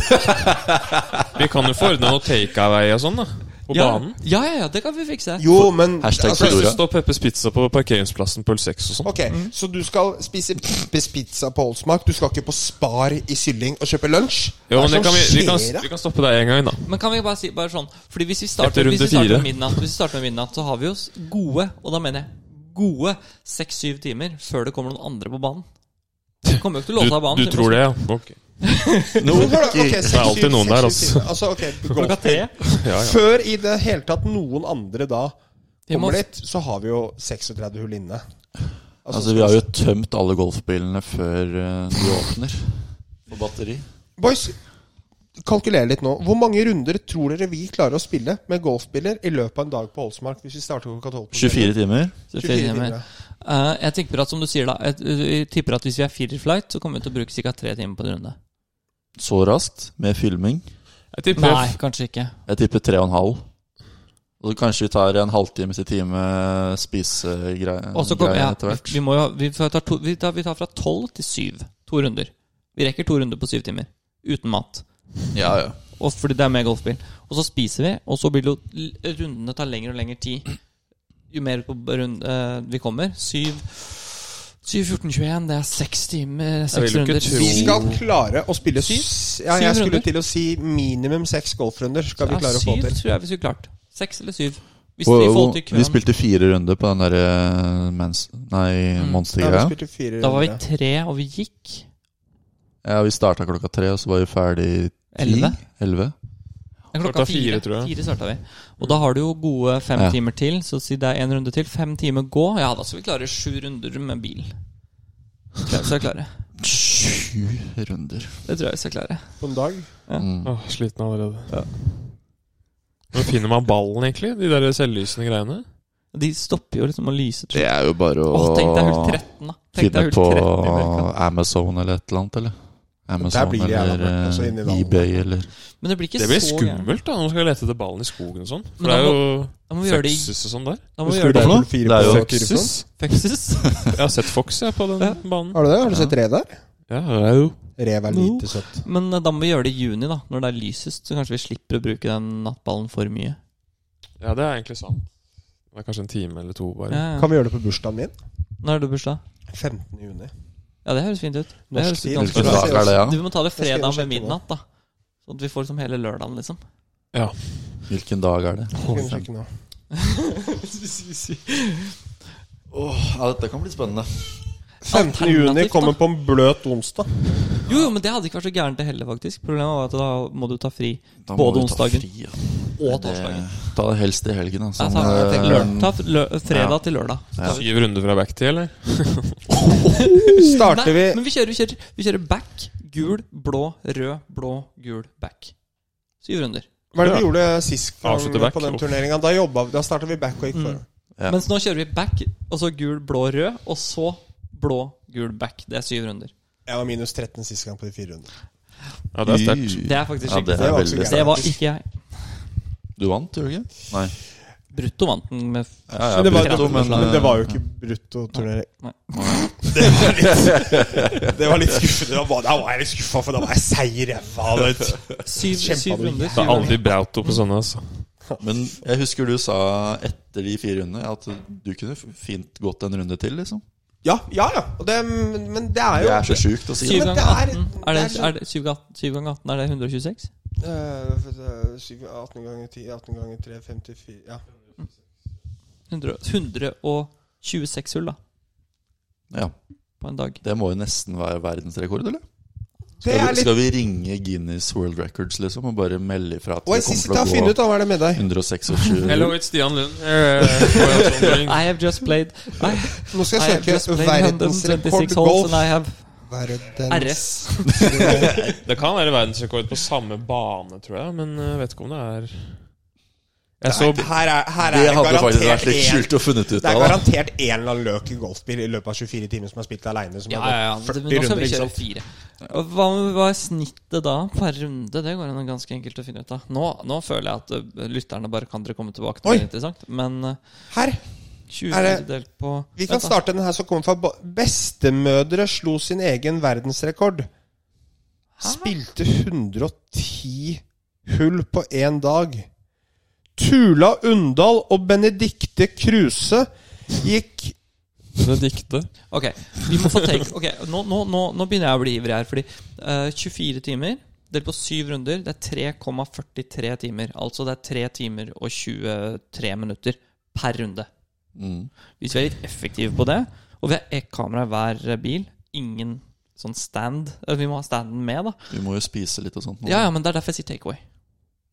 Vi kan jo få ordna noe takeaway og sånn, da. På
Ja,
banen.
ja, ja, ja, det kan vi fikse.
Jo, men
Hashtag
altså,
Plutselig
Fedora.
står Peppers Pizza på parkeringsplassen på hull 6 og sånn.
Ok, Så du skal spise Peppers pizza på Holsmark? Du skal ikke på Spar i Sylling og kjøpe lunsj?
Jo,
Hva er sånn
men det
det
kan vi,
som
vi, kan,
skjer, da?
vi kan stoppe deg en gang, da.
Men kan vi bare si bare sånn Fordi hvis vi
Etter
starter,
runde
hvis vi starter
fire.
med midnatt, Hvis vi starter med midnatt, så har vi oss gode Og da mener jeg gode seks-syv timer før det kommer noen andre på banen. Du kommer jo ikke til å låse av
Du,
banen.
du tror det, ja? Ok.
det
Det er alltid noen der, altså.
altså ok,
Klokka
golf.
tre.
Ja, ja.
Før i det hele tatt noen andre da
Vi må-
kommer dit, så har vi jo 36 hull inne.
Altså, vi har jo tømt alle golfbilene før eh, de åpner. For batteri.
Boys, kalkuler litt nå. Hvor mange runder tror dere vi klarer å spille med golfspiller i løpet av en dag på Holsmark? Hvis vi starter klokka 12 på
24
kvelden?
timer.
24
timer.
timer.
Eh, jeg tipper at som du sier da jeg, jeg tipper at hvis vi er fire i flight, så kommer vi til å bruke ca. tre timer på en runde.
Så raskt, med filming.
Jeg tipper
Nei,
jeg,
kanskje ikke.
Jeg tipper tre og en halv. Og så kanskje vi tar en halvtime til time spisegreie
Og så kommer
greie
ja,
etter hvert.
vi, vi må jo vi tar, to, vi, tar, vi tar fra tolv til syv. To runder. Vi rekker to runder på syv timer. Uten mat.
Ja, ja.
Og fordi det er med golfbil. Og så spiser vi, og så blir det jo rundene tar lengre og lengre tid. Jo mer på rund, eh, vi kommer. 7, 7, 14, 21, det er seks timer. Seks
vil jo ikke
runder.
tro-
Vi
Syv-
skal klare å spille
Syv?
s- Ja,
Syv
jeg skulle
runder?
til å si minimum seks golfrunder skal vi
ja,
klare å få
syv
til.
tror jeg vi skulle klart. Seks eller syv. Hvis
Og-
vi
og-
får til
vi
køen
spilte fire runder på den derre mens... Nei,
Mm.
Ja, vi
monstergreia.
spilte fire
Da var vi
runder.
tre, og vi gikk
Ja, vi starta klokka tre, og så var vi ferdig ti.
elleve.
Elleve.
Ja,
Klokka fire, tror jeg.
Fire starta vi. Og da har du jo gode fem
Ja.
timer til, så si det er en runde til. Fem timer gå. Ja, da skal vi klare sju runder med bil. Det tror jeg vi skal klare.
Sju runder.
Det tror jeg vi skal klare.
på en dag.
Ja.
Mm.
Åh, sliten allerede. Hvor finner man ballen, egentlig? De der selvlysende greiene?
De stopper jo liksom å lyse. Tror
Det
jeg.
er jo bare å
Åh, tenk deg hull 13, da. Tenk
finne
deg
på
hull 13 i Amerika.
Amazon eller et eller annet, eller?
Der
Amazon
blir det jævla
eller
mørkt, altså,
eh,
inni dalen.
eBay eller
Men det blir ikke
Det blir
så gærent.
skummelt, da, når man skal lete etter ballen i skogen og sånn. For
Men
det
da
er
må-
jo
Da må vi gjøre det i
føkses og sånn der.
Da må vi
Husker
gjøre
du
det
for noe? Det
Fire
er
på
jo-
Tyrifjorden?
Føkses?
Føkses.
Jeg har sett Fox, jeg, på den
Ja.
banen.
Har du det? Har du sett rev der?
Ja, det er jo
Rev er
No.
lite søtt.
Men eh, da må vi gjøre det i juni, da. Når det er lysest. Så kanskje vi slipper å bruke den nattballen for mye.
Ja, det er egentlig sant. Det er kanskje en time eller to, bare.
Ja. ja.
Kan vi gjøre det på bursdagen min?
Når er det bursdag?
15. juni.
Ja, det høres fint ut. Det
Norsk
høres
tid.
ganske
Hvilken
bra ut.
dag er det, ja?
Du må ta det
skal inn
fredag
og
ved
sjekke nå.
midnatt, da. Sånn at vi får liksom hele lørdagen, liksom.
Hvilken dag er det?
Skal vi sjekke nå.
ja, dette kan bli spennende.
15. juni
Alternativt,
kommer
da.
på en bløt onsdag.
Jo, jo, men det hadde ikke vært så gærent det heller, faktisk. Problemet var at da må du ta fri. Både onsdagen og torsdagen.
Ta altså. det helst i helgen, altså.
Nei, ta,
Men,
ta,
eh,
lø- ta lø- fredag
Ja.
til lørdag. Så tar vi-
Syv runder fra back til, eller?
Starter vi
Nei, men vi kjører, vi, kjører, vi kjører back, gul, blå, rød, blå, gul, back. Syv runder.
Hva er det vi gjorde sist gang
Avslutte back.
på den turneringa? Da, jobbet- da starta vi back og gikk for.
Mm.
Ja.
Mens nå kjører vi back, og så gul, blå, rød, og så blå, gul, back. Det er syv runder.
Jeg var minus 13 sist gang på de fire rundene.
Ja, det er sterkt.
Det er faktisk
Ja,
skikkelig.
det
Det
er
var
veldig
også
Det
sterkt.
var ikke jeg.
Du vant, gjorde du ikke? Nei.
Brutto vant den med
Ja,
Men det var,
brutto,
men,
eh,
det var jo ikke brutto turnering.
Nei.
Det var litt skuffende. Da var, da var jeg litt skuffa, for da var jeg seig i ræva. vet du.
syv, syv runder.
Det
Syv
er aldri
runder.
Brauto på sånne, altså.
Mm.
Men jeg husker du sa etter de fire rundene at du kunne fint gått en runde til, liksom.
Ja, ja, ja. Og det, men det er
Det
jo
er så sjukt å si.
Syv ganger
men det er-
18, er det,
det er så-
er det, syv ganger- syv ganger 18, er det 126?
Eh, for det er syv- 18 ganger 10, 18 ganger 3, 54 Ja.
100 126 hull, da.
Ja,
På en dag.
Det må jo nesten være verdensrekord, eller? Skal
Det er
vi,
litt
skal vi ringe Guinness World Records liksom og bare melde ifra at
Og
det
jeg siste har
kommer til å
funnet ut,
gå Mm.
da. Hva er det med deg?
126
Hello, it's Stian Lund.
eh,
Nei,
I have just played I,
Nå skal
I
jeg
have just
søke
played 126 holes and
verdensrekordgolf.
I have
Verdens
RS.
Det kan være verdensrekord på samme bane, tror jeg, men eh, vet ikke om det er Jeg så
Nei, her er, her
Det
er
hadde faktisk vært
garantert
litt
en-
kult å funnet ut
Det er
av. da
garantert en eller annen løk i golfbil i løpet av 24 timer som har spilt aleine. Som
Ja,
har
ja, ja.
gått
Men
40
nå skal
runder.
vi
Ikke
kjøre
sant?
fire. Og Hva, hva er snittet da per runde? Det går an å ganske enkelt å finne ut av. Nå, nå føler jeg at ø, lytterne bare kan dere komme tilbake til
Oi.
det er interessant. Men ø,
Her.
20
Er det-
delt på
Vi kan
Vent da.
starte den her som kommer fra ba- Bestemødre slo sin egen verdensrekord. Spilte 110 hull på én dag. Tula Undal og Benedikte Kruse gikk
det diktet.
Ok, vi må få take Ok, nå, nå, nå, nå begynner jeg å bli ivrig her, fordi eh, 24 timer delt på 7 runder, det er 3,43 timer. Altså det er 3 timer og 23 minutter per runde.
Mm.
Hvis vi er litt effektive på det, og vi har ett kamera i hver bil, ingen sånn stand eh, Vi må ha standen med, da.
Vi må jo spise litt og sånt.
Mm.
nå.
Ja, ja, men det er derfor jeg sier takeaway.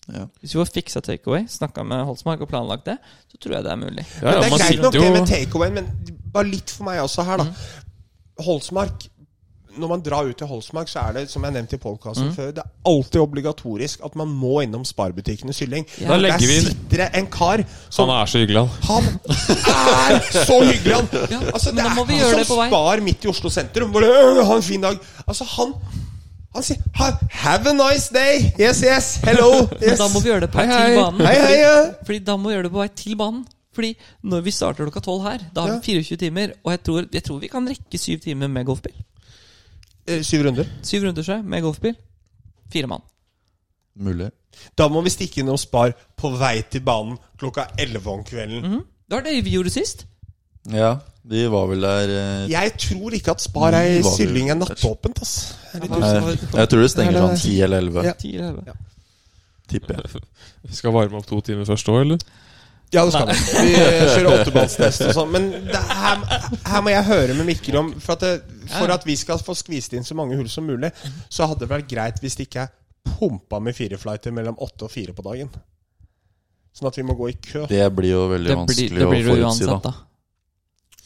Ja.
Hvis vi får fiksa takeaway, snakka med Holsmark og planlagt det, så tror jeg det er mulig.
Ja, ja,
det er
man
greit
sitter
nok det
jo
med takeaway, men bare litt for meg også her, da. Holsmark Når man drar ut til Holsmark, så er det som jeg nevnte i podkasten
Mm.
før, det er alltid obligatorisk at man må innom Sparbutikkenes Hylling.
Ja.
Da legger
Der
vi-
sitter det en kar som
Han er så hyggelig,
Han
han.
er så hyggelig, han!
Ja,
Altså,
men da må vi
er
gjøre
som
det på vei.
Spar midt i Oslo sentrum. Bare, «Øh, ha en fin dag. Altså, han Han sier «Ha- 'Have a nice day'. Yes, yes. Hello.
Men
Yes.
da må vi gjøre det på vei
hei.
til banen.
Hei, hei, ja.
fordi, fordi da må vi gjøre det på vei til banen. Fordi når vi starter klokka tolv her, da har vi 24 timer. Og jeg tror, jeg tror vi kan rekke syv timer med golfbil.
Eh, Syv runder.
Syv runder seg med golfbil. Fire mann.
Mulig.
Da må vi stikke innom Spar på vei til banen klokka 11 om kvelden.
Det var det vi gjorde sist.
Ja, vi var vel der eh,
Jeg tror ikke at Spar er
Vi var vel-
Sylling er nattåpent, ass. Jeg er litt usikker.
eh, Jeg tror det stenger sånn 10 eller 11,
Ja.
Ti eller elleve.
tipper jeg.
Vi skal varme opp to timer først òg, eller?
Ja, det skal vi. Vi eh, kjører åtteballstest og sånn. Men det, her, her må jeg høre med Mikkel om For at, det, for at vi skal få skvist inn så mange hull som mulig, så hadde det vært greit hvis det ikke er pumpa med fireflighter mellom åtte og fire på dagen. Sånn at vi må gå i kø.
Det blir jo veldig
Det
vanskelig
blir, det blir
å
jo
forutsi,
uansett,
da.
da.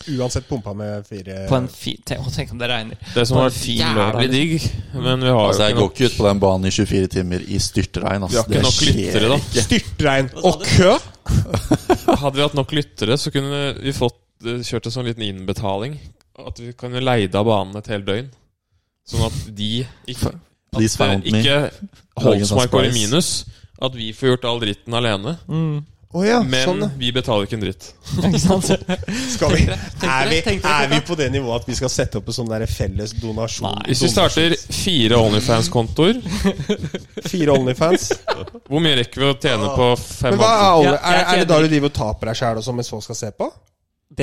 Uansett pumpa med fire
På en fin tenk, å, tenk om det regner.
Det som
Bare
var
fin
jævlig
lørdag.
digg, men vi har
Altså, jeg
jo
går ikke ut på den banen i 24 timer i styrtregn.
Vi
Altså.
har ikke nok lyttere, da.
Styrtregn og kø!
Hadde vi hatt nok lyttere, så kunne vi fått eh, kjørt en sånn liten innbetaling. At vi kan jo leide av banen et helt døgn. Sånn at de ikke
Please
at, eh,
found me. sånn
Ikke Holsmark går i
Dagens price.
minus. At vi får gjort all dritten alene.
Å ja,
Men
sånn.
vi betaler ikke en dritt.
Ikke sant?
Skal vi, er, vi,
tenkte dere ikke
er vi på det nivået at vi skal sette opp en sånn der felles donasjon?
Nei.
Hvis vi starter fire Onlyfans-kontoer,
Fire Onlyfans?
hvor mye rekker vi å tjene på fem
Men hva er,
måneder?
Ja,
alle, er,
jeg
er det
tjener-
da du driver og taper deg sjæl og sånn, mens folk skal se på?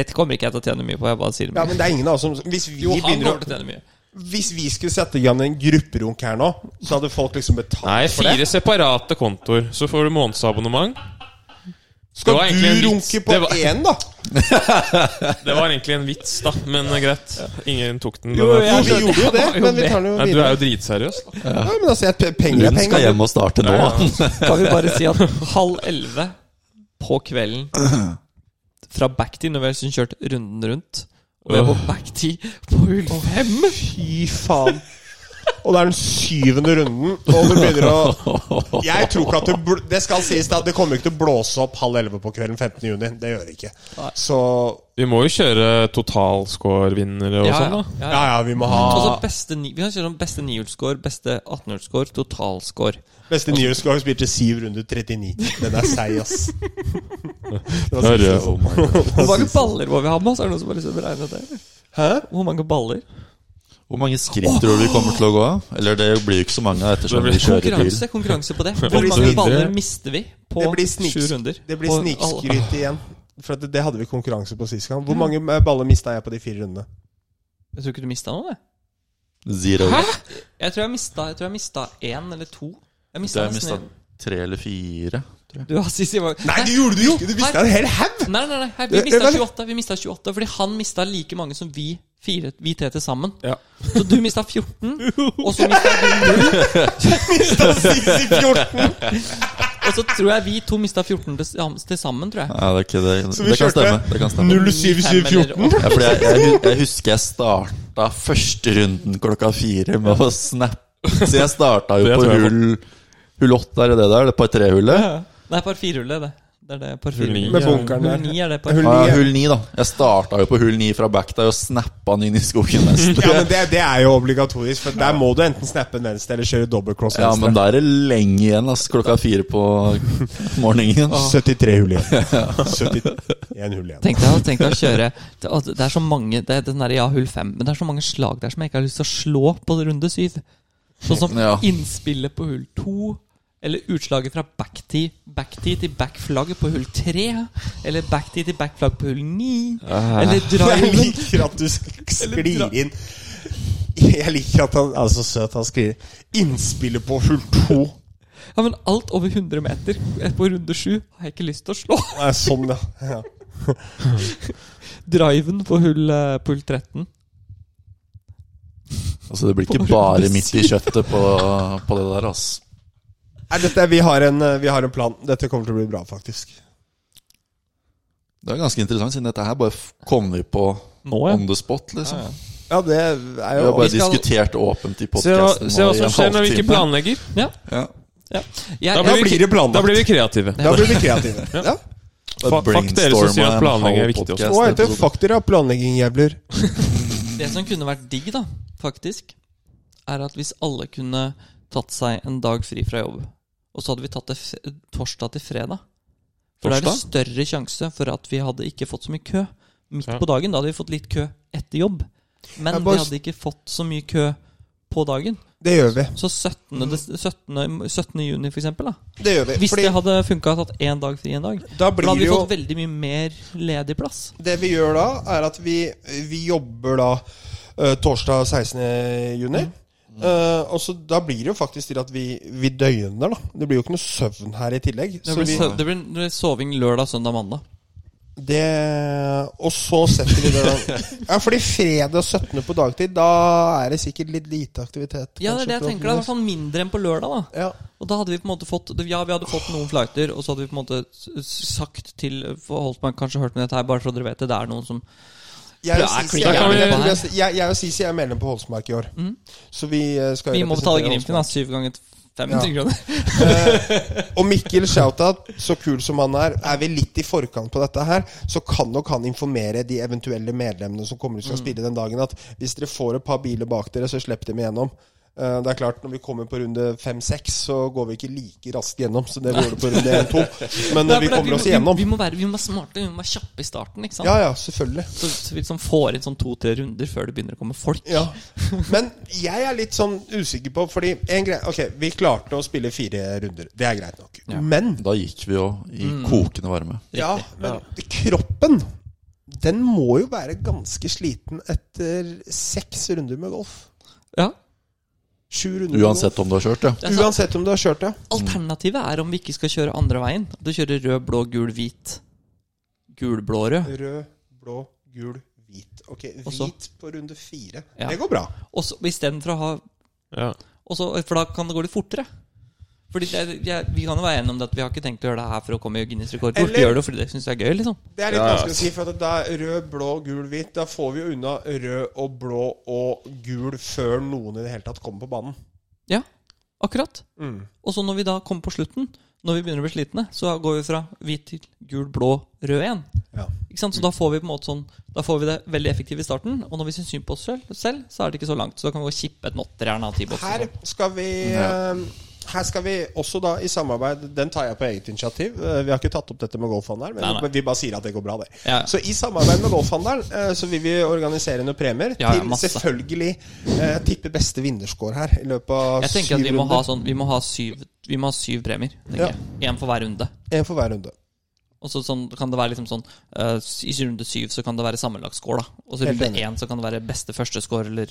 Dette kommer ikke jeg til å tjene mye på. Jeg bare sier
Ja,
det.
men det er ingen av oss som Hvis vi,
Jo, han
begynner
kommer
å,
til å tjene mye.
hvis vi skulle sette i gang en grupperunk her nå, så hadde folk liksom betalt
Nei,
for det.
fire separate kontoer. Så får du månedsabonnement.
Skal
Det var egentlig
du
en vits.
runke på
Det var-
én, da?
Det var egentlig en vits, da, men eh, greit. Ingen tok den.
Jo, jeg
Jo, vi
skjønner.
gjorde jo det,
Det var jo
men vi
det.
tar den jo
Nei, du
videre.
er jo dritseriøs. da.
Ja, men altså, jeg, penger er
Lund skal
penger.
hjem og starte nå. han.
Kan vi bare si at halv elleve på kvelden fra backtid, når vi har liksom kjørt runden rundt Og vi er på backtid på hull fem
Fy faen. Og det er den syvende runden, og du begynner å Jeg tror ikke at det bl Det skal sies da, det kommer ikke til å blåse opp halv elleve på kvelden 15. juni. Det gjør det ikke. Så
Vi må jo kjøre totalscore-vinnere og sånn, da.
ja,
ja,
ja.
ja, vi må ha
Altså beste, ni- vi kan kjøre om beste nihjulsscore, beste 18-hjulsscore, totalscore.
Beste nyhetsgang spilte syv runder 39. Den er seig, ass. Det var
Hør,
siste.
eh,
Hvor mange baller må vi ha med oss? Er det noen som har lyst til å beregne det?
Hæ?
Hvor mange baller?
Hvor mange skritt tror du vi kommer til å gå? Eller det blir jo ikke så mange ettersom
Det blir
vi kjører bil.
Konkurranse, konkurranse på det. Hvor
blir
mange
snill.
baller mister vi på
Det blir
sju
sniks-
runder?
Det blir
På alle-
snikskryt igjen. For at det, det hadde vi konkurranse på sist gang.
Mm.
Hvor mange eh, baller mista jeg på de fire rundene?
Jeg tror ikke du mista noe, det.
Zero.
Jeg tror jeg mista, jeg tror jeg mista én eller to. Jeg
Så
mista
jeg
nesten
mista
en.
sånn tre eller fire. tror jeg.
Du har Sisi var
Nei, det gjorde du ikke! Du mista en hel haug!
Nei, nei, nei, hei, vi
Eh,
mista
vel-
28, vi mistet 28 fordi han mista like mange som vi fire, vi tre til sammen.
Ja.
Så du mista 14, og så mista du null.
Mista sist i 14!
Og så tror jeg vi to mista 14 til, sam- til sammen, tror jeg.
Ja, det, er ikke det.
Så
det
vi
kan
kjørte
stemme. Det kan stemme.
07714.
Ja, fordi jeg, jeg, hu- jeg husker jeg starta første runden klokka fire med å snappe. Så jeg starta jo
Det
på
tror jeg på.
hull Hull åtte, er det det der? Det par tre-hullet?
Nei, par firehullet, det. Det er det par
ni.
firehullet.
Med bunkeren
Hull
der.
ni er det par
Hull
Ja,
ni.
hull ni, da. Jeg starta jo på hull ni fra back der og snappa han inn i skogen nesten.
Ja, men det, det er jo obligatorisk, for der må du enten snappe en venstre eller kjøre dobbeltcross
Ja, men
venstre.
da er det lenge igjen, ass. Klokka fire på morgenen.
73 hull igjen. 71 hull igjen.
Tenk deg, å- tenk deg å kjøre det, å, det er så mange Det er den der, ja, hull fem, men det er så mange slag der som jeg ikke har lyst til å slå på runde syv. Sånn som
Ja.
innspillet på hull to, eller utslaget fra backtee backtee til backflagg på hull tre, eller backtee til backflagg på hull ni, eller
Jeg
driven
liker at du sk- sklir inn Jeg liker at han er så søt. Han sklir innspillet på hull to.
Ja, men alt over 100 meter på runde sju har jeg ikke lyst til å slå.
Nei, Sånn, ja. ja.
Driven på hull, eh, på hull 13.
Altså, det blir ikke bare midt i kjøttet på, på det der, ass.
Nei, dette, vi, har en, eh, vi har en plan. Dette kommer til å bli bra, faktisk.
Det er ganske interessant, siden dette her bare f- kom vi på
Nå, ja.
on the spot, liksom.
Ja, det er
Vi
jo
har bare
Vi skal-
diskutert åpent i
Se,
podkasten.
hva som skjer når vi ikke planlegger.
Ja.
Jeg,
Da
Da
blir vi-
blir det
Da
planlagt.
blir vi kreative.
Da blir vi kreative. ja.
Fuck- fuck dere som sier at planlegging er viktig også.
Og etter fuck dere har planlegging, jævler.
Det som kunne vært digg, da, faktisk, er at hvis alle kunne tatt seg en dag fri fra jobb, og så hadde vi tatt det f torsdag til fredag For da er det større sjanse for at vi hadde ikke fått så mye kø midt
Ja.
på dagen. Da hadde vi fått litt kø etter jobb, men
Jeg bare-
vi hadde ikke fått så mye kø på dagen.
Det gjør vi.
Så 17. des- 17. 17. juni, for eksempel, da.
Det gjør vi.
Hvis
Mm. Fordi
det hadde funka å ha tatt én dag fri en dag, da
da blir
hadde
det
vi
jo
fått veldig mye mer ledig plass.
Det vi gjør da, er at vi, vi jobber da eh, torsdag 16. juni.
Mm.
Eh, og så da blir det jo faktisk til at vi, vi døgner, da. Det blir jo ikke noe søvn her i tillegg.
Det
Så
blir,
vi,
søv- det blir soving lørdag, søndag, mandag.
det, og så setter vi det Ja, fordi fredag 17. på dagtid, da er det sikkert litt lite aktivitet.
Ja, det er det jeg tenker. da, I hvert fall mindre enn på lørdag. da
sånn. Ja.
Og da hadde vi på en måte fått Ja, vi hadde fått noen flauter, og så hadde vi på en måte s- s- sagt til Holtmann Kanskje hørt med dette her, bare så dere vet det. Det er noen som
Jeg
Ja,
og Sisi
klikker
er,
jeg
medlem-
på her.
jeg- jeg- jeg og Sisi er medlem på Holsmark i år. Så vi eh,
Mm.
skal
Vi må betale
representere
Grimfin, da. Syv ganger 500 kroner.
Og Mikkel, shoutout, så kul som han er, er vi litt i forkant på dette her, så kan nok han informere de eventuelle medlemmene som kommer
Mm.
ut skal spille den dagen, at hvis dere får et par biler bak dere, så slipp dem igjennom. Eh, Det er klart, når vi kommer på runde 5-6, så går vi ikke like raskt gjennom som det vi gjorde på runde 1-2, men
Nei,
vi
for det-
kommer oss
må-
igjennom.
Vi, må være, vi må være smarte, vi må være kjappe i starten. ikke sant?
Ja, ja, selvfølgelig.
Så, så vi liksom får inn sånn to-tre runder før det begynner å komme folk.
Ja. Men jeg er litt sånn usikker på, fordi en greie, Ok, vi klarte å spille fire runder. Det er greit nok. Men
Da gikk vi jo i
Mm.
kokende varme.
Ja, men kroppen Den må jo være ganske sliten etter seks runder med golf.
Ja.
Sju runder
Uansett om du har kjørt, ja.
Det er
med golf.
sant.
Uansett om du har kjørt, ja.
Alternativet er om vi ikke skal kjøre andre veien. At Du kjører rød, blå, gul, hvit. Gul, blå, rød.
Rød, blå, gul, hvit. Ok,
Og så-
hvit på runde fire.
Ja.
Det går bra.
Og så istedenfor å ha
Ja.
Og så, for da kan det gå litt fortere. Fordi det, jeg, Vi kan jo være enige om det at vi har ikke tenkt å gjøre det her for å komme i Guinness rekordbok.
Eller-
Vi gjør det fordi det syns vi er gøy. liksom
Det er litt
Ja, ja.
vanskelig å si, for at da er rød, blå, gul, hvit Da får vi jo unna rød og blå og gul før noen i det hele tatt kommer på banen.
Ja, akkurat.
Mm.
Og så når vi da kommer på slutten, når vi begynner å bli slitne, så går vi fra hvit til gul, blå, rød igjen.
Ja.
Ikke sant? Så da får vi på en måte sånn Da får vi det veldig effektivt i starten. Og når vi syns synd på oss selv, selv, så er det ikke så langt. Så da kan vi gå og kippe et notter her.
Her
Her.
skal vi
Ja.
eh, her skal vi også da i samarbeid Den tar jeg på eget initiativ. Eh, Vi har ikke tatt opp dette med golfhandelen, men
Nei, nei.
men vi bare sier at det går bra, det.
Ja, ja.
Så i samarbeid med golfhandelen eh, så vil vi organisere noen premier
Ja, ja,
til
masse.
selvfølgelig eh, tippe beste vinnerscore her i løpet av
Jeg tenker at vi må ha sånn Vi må ha syv, vi må ha syv premier.
Ja.
tenker jeg. Én for hver runde.
En for hver runde.
Og så sånn, kan det være liksom sånn eh, I runde syv så kan det være sammenlagtscore, da. Og så
Helt
runde
enig.
én så kan det være beste første score, eller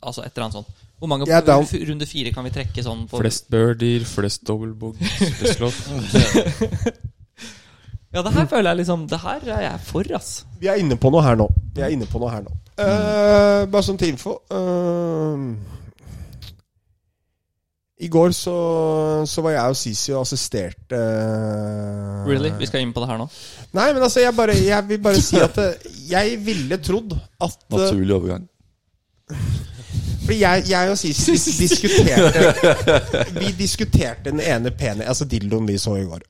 altså et eller annet sånt. Hvor mange
Jeg er down.
f- runde fire kan vi trekke sånn på
Flest birdier, flest double bogeys, flest lov.
Ja, det her føler jeg liksom Det her er jeg for, ass.
Vi er inne på noe her nå. Vi er inne på noe her nå. Eh, bare sånn til info. Eh, I går så, så var jeg og Sisi og assisterte eh,
Ah.
Really? Vi skal inn på det her nå?
Nei, men altså, jeg, bare, jeg vil bare si at eh, jeg ville trodd at eh,
Naturlig overgang.
Fordi jeg, jeg og Sisi dis- diskuterte Vi diskuterte den ene pene Altså dildoen vi så i går.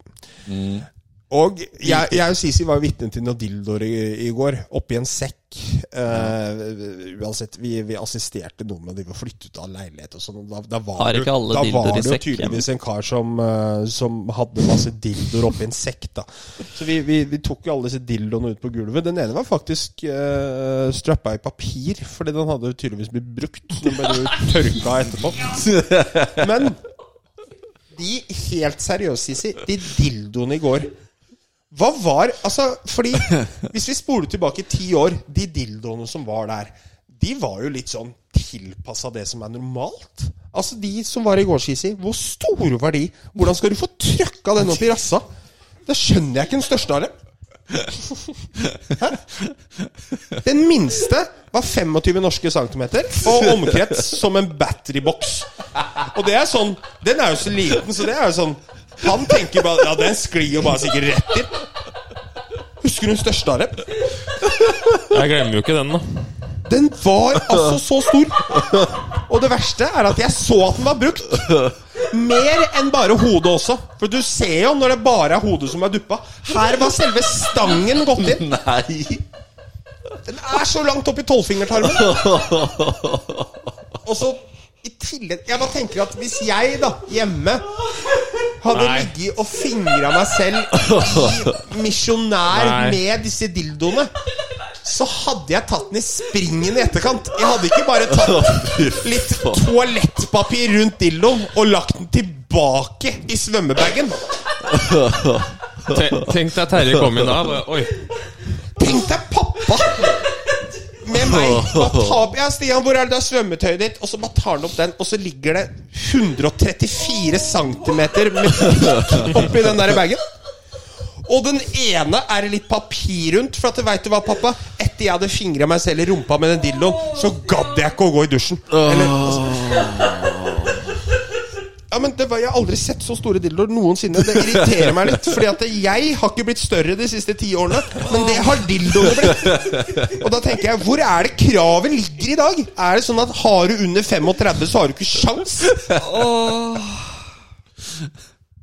Og jeg, jeg og Sisi var vitne til noen dildoer i, i går, oppi en sekk. Eh, uansett, vi, vi assisterte noen med å drive og flytte ut av leilighet og sånn. og Da, da var,
Har
det-
ikke alle
da
dildoer i
var det jo
sekk
tydeligvis en kar som, eh, som hadde masse dildoer oppi en sekk, da. Så vi, vi, vi tok jo alle disse dildoene ut på gulvet. Den ene var faktisk uh, strappa i papir, fordi den hadde tydeligvis blitt brukt. Den ble jo tørka etterpå. Men de helt seriøse, Sisi, de dildoene i går hva var Altså, fordi Hvis vi spoler tilbake ti år, de dildoene som var der, de var jo litt sånn tilpassa det som er normalt. Altså, de som var i går, Sisi, hvor store var de? Hvordan skal du få trøkka den opp i rassa? Det skjønner jeg ikke den største av dem. Den minste var 25 norske centimeter og omkrets som en batteryboks. Og det er sånn Den er jo så liten, så det er jo sånn Han tenker bare Ja, den sklir jo bare sikkert rett inn. Husker du den største av dem?
Jeg glemmer jo ikke den, da.
Den var altså så stor. Og det verste er at jeg så at den var brukt. Mer enn bare hodet også. For du ser jo når det bare er hodet som er duppa. Her var selve stangen gått inn.
Nei!
Den er så langt opp i tolvfingertarmen. Og så i tillegg Jeg bare tenker at hvis jeg, da, hjemme hadde
Nei.
ligget og fingra meg selv i misjonær
Nei.
med disse dildoene, så hadde jeg tatt den i springen i etterkant. Jeg hadde ikke bare tatt litt toalettpapir rundt dildoen og lagt den tilbake i svømmebagen.
Ten- Tenk deg Terje kom inn da. Bare, Oi.
Tenk deg pappa med meg. Bare ta opp, ja, Stian, hvor er det du har svømmetøyet ditt? Og så bare tar han opp den, og så ligger det 134 cm med pikk oppi den der bagen. Og den ene er det litt papir rundt, for at veit du hva, pappa? Etter jeg hadde fingra meg selv i rumpa med den dildoen, så gadd jeg ikke å gå i dusjen. Eller, altså. Ja, men det var, Jeg har aldri sett så store dildoer noensinne. Det irriterer meg litt. Fordi at jeg har ikke blitt større de siste ti årene, men det har dildoene blitt. Og da tenker jeg, hvor er det kravet ligger i dag? Er det sånn at har du under 35, så har du ikke sjans?
Ja,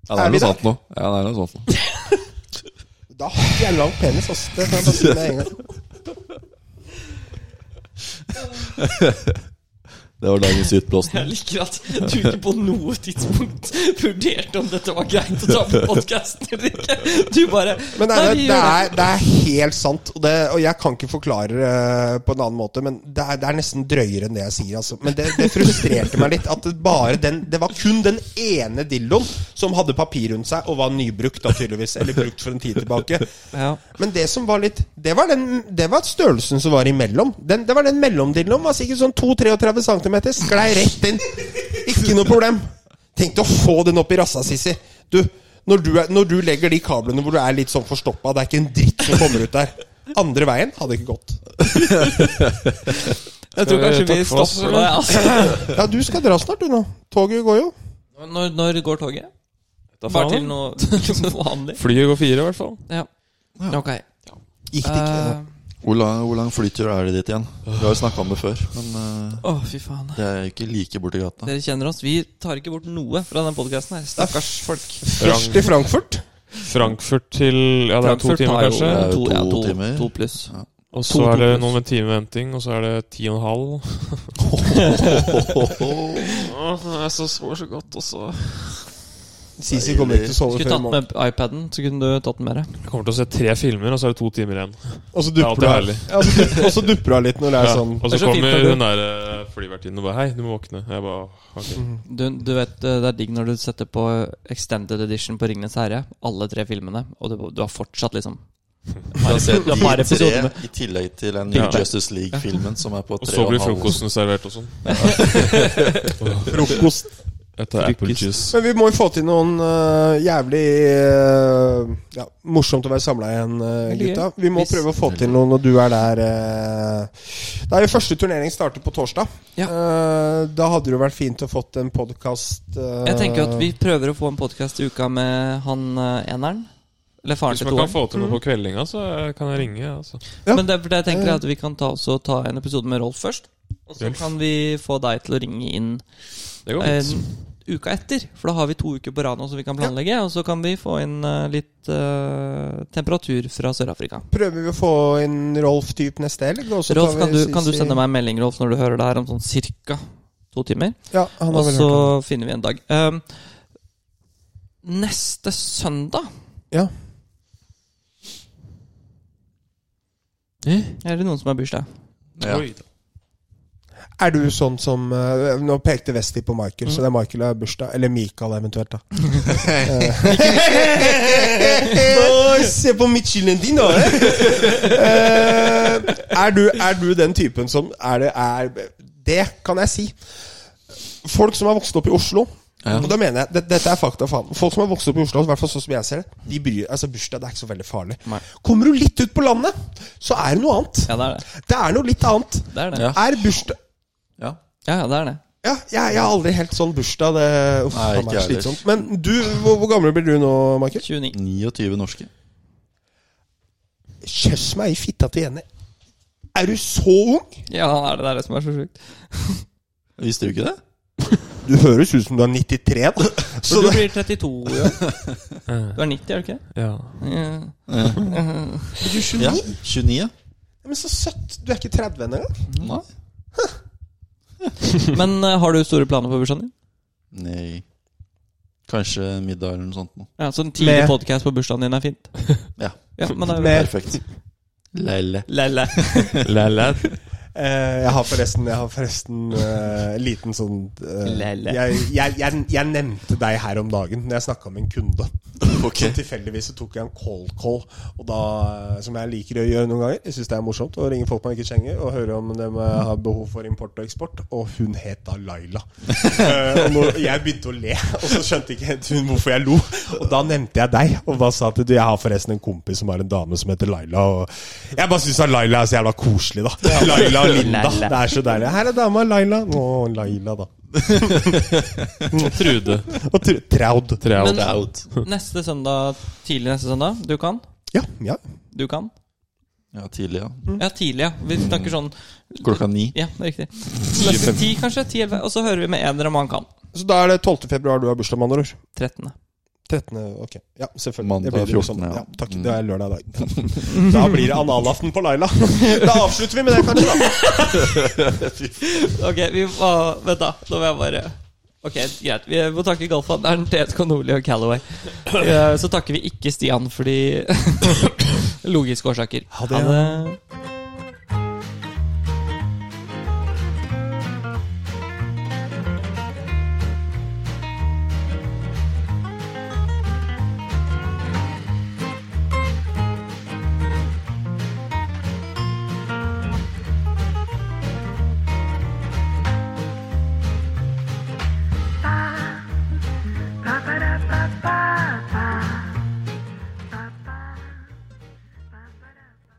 det er
Er vi
noe
der?
sånt nå. Ja, det er noe sånt nå.
Da har ikke jeg lang penis, ass. Det kan jeg bare si med en gang.
Det var dagens utblåsning.
Jeg liker at du ikke på noe tidspunkt vurderte om dette var greit å ta på podkasten eller ikke. Du bare
Men det
Nei,
er,
vi
det,
gjør
er, det er helt sant, og, det, og jeg kan ikke forklare det eh, på en annen måte. Men det er, det er nesten drøyere enn det jeg sier. Altså. Men det, det frustrerte meg litt. At det, bare den, det var kun den ene dildoen som hadde papir rundt seg, og var nybrukt, da tydeligvis. Eller brukt for en tid tilbake.
Ja.
Men det som var litt Det var, den, det var størrelsen som var imellom. Den, det var den mellomdillen var sikkert sånn 2-33 cm. Sklei rett inn. Ikke noe problem. Tenk deg å få den opp i rassa, Sissi. Du, når du, er, når du legger de kablene hvor du er litt sånn forstoppa, det er ikke en dritt som kommer ut der. Andre veien hadde ikke gått.
Jeg tror kanskje vi
Takk for oss,
stopper nå. Ja, altså.
Ja, du skal dra snart, du nå. Toget går jo.
Når, når går toget?
Da
Bare til
faen.
noe vanlig?
Flyet går fire, i hvert fall.
Ja. Ok.
Gikk det ikke?
Eh,
Hvor lang, hvor lang flytur er det dit igjen? Vi har jo snakka om det før, men eh,
Å, fy faen.
det er ikke like borti gata.
Dere kjenner oss. Vi tar ikke bort noe fra den podkasten her. Stakkars folk.
Eh,
Først til Frankfurt.
Frankfurt til Ja, det er to
Frankfurt
timer,
tar jo-
kanskje.
Det er jo
ja,
to timer.
To pluss.
Og
To,
så
to
er det
pluss.
noe med en time venting, og så er det ti og en halv. Åh, jeg så sover så godt, og så
Sisi kommer ikke til å sove
Skulle
før i
tatt
morgen.
med iPaden, så kunne du tatt den med deg.
Jeg kommer til å se tre filmer, og så er det to timer igjen.
Og så
Det er alltid
dupper du av-
herlig.
Ja, så dupp- og så dupper du av litt når det er
Ja,
sånn
og
Det
så
er så fint
kommer
når du-
hun der eh, flyvertinnen og bare 'Hei, du må våkne'. Jeg bare ok.
Du, du vet, eh, Det er digg når du setter på extended edition på Ringenes herre, alle tre filmene, og du, du har fortsatt liksom
Du har sett
Det er bare
de
episoden
tre
med-
i tillegg til den New
Ja.
Justice League-filmen som er på
Og
tre
så
og en
blir
halv
frokosten servert og sånn.
frokost.
Dette er apple
Frokost.
juice.
Men vi må jo få til noen øh, jævlig øh, ja, morsomt å være samla igjen, øh,
Veldig
gutta. Vi må
Hvis-
prøve å få til noe når du er der. øh. Det er jo første turnering starter på torsdag.
Ja.
Eh, da hadde det jo vært fint å fått en eh, podkast
Jeg tenker jo
Eh.
at vi prøver å få en podkast i uka med han eh, eneren. Eller faren
Hvis
til
man kan
toeren.
få til noe på kveldinga, så eh, kan jeg ringe. Altså.
Ja.
Men det, for det jeg
Eh.
tenker er at vi kan ta, også ta en episode med Rolf først. Og så
Rolf.
kan vi få deg til å ringe inn
Det går
eh,
fint.
uka etter. For da har vi to uker på rad nå som vi kan planlegge. Og så kan vi få inn eh, litt eh, temperatur fra Sør-Afrika.
Prøver vi å få inn Rolf typ neste helg? og så tar
Rolf,
vi
kan du, kan du
Sisi-
sende meg en melding Rolf, når du hører det her om sånn cirka to timer?
Ja, han har
Og
vel
så
hørt om det.
finner vi en dag. Ehm, neste søndag
Ja.
Eh, er det noen som har bursdag.
Ja.
Oi,
Er du sånn som øh, Nå pekte Westi på Michael, så det er Michael som har bursdag. Eller Michael eventuelt, da. Oi, Eh, se på midtskillen din, da! eh. Eh, er, du, er du den typen som er det, er det kan jeg si. Folk som har vokst opp i Oslo,
Ja.
Og da mener jeg, det, Dette er fakta, faen. Folk som har vokst opp i Oslo, i hvert fall sånn som jeg ser det, de bryr altså bursdag det er ikke så veldig farlig.
Nei.
Kommer du litt ut på landet, så er det noe annet.
Ja, det er det.
Det er noe litt annet.
Det er det.
Ja.
Er bursdag
Ja.
Ja, ja, det er det.
Ja, jeg, jeg har aldri helt sånn bursdag. Det uff,
Nei,
faen, det er
ikke jeg
slitsomt. Men du, hvor, hvor gammel blir du nå, Michael?
29.
29 norske.
Kjøss meg i fitta til Jenny. Er du så ung?
Ja, han er det. Det er det som er så sjukt.
Visste du ikke det?
Du høres ut som du er 93. da. Så
For du
det,
blir 32 i år. Du er 90, er du ikke det?
Ja.
Ja.
du er 29?
Ja, 29. ja.
Men så søtt. Du er ikke 30 engang.
Mm.
Nei.
Men eh, har du store planer for bursdagen din?
Nei. Kanskje en middag eller noe sånt. nå.
Ja, så en tidlig
Med-
podcast på bursdagen din er fint?
Ja.
Ja, men det er jo
Med-
Perfekt. Leile.
Eh. Lelle.
Eh, jeg har forresten, jeg har forresten eh, liten sånn eh,
Lele.
jeg, jeg, jeg, jeg nevnte deg her om dagen Når jeg snakka med en kunde.
Ok.
Så tilfeldigvis så tok jeg en cold call, og da, eh, som jeg liker å gjøre noen ganger. Jeg syns det er morsomt å ringe folk man ikke kjenner, og høre om de eh, har behov for import og eksport. Og hun het da Laila. Eh, og når jeg begynte å le, og så skjønte ikke helt hun hvorfor jeg lo. Og da nevnte jeg deg, og da sa at du, jeg har forresten en kompis som har en dame som heter Laila. Og jeg bare syns Laila er så jævla koselig, da. Laila og Linda.
Laila.
Det er så deilig. Her er dama Laila. Å, Laila, da.
Trude.
Og Tr- Traud.
Treal.
Men-
Det er out.
Neste søndag, tidlig neste søndag. Du kan?
Ja, ja.
Du kan?
Ja, tidlig, ja.
Mm.
Ja, tidlig, ja. Vi snakker sånn
Klokka ni.
Ja, det er riktig. Neste ti, kanskje? Ti, elleve. Og så hører vi med en eller annen man kan.
Så da er det 12. februar du har bursdag, med andre ord.
13.
13. ok. Ja, selvfølgelig.
Mandag
Det blir det jo sånn-
14., ja.
takk, det er lørdag i dag. Da blir det analaften på Laila. Da avslutter vi med det, kanskje. da
Ok, vi må Vent, da. Nå må jeg bare Ok, greit. Vi må takke golfhandleren TSK Nordli og Callaway. Eh, Så takker vi ikke Stian fordi Logiske årsaker.
det.
det.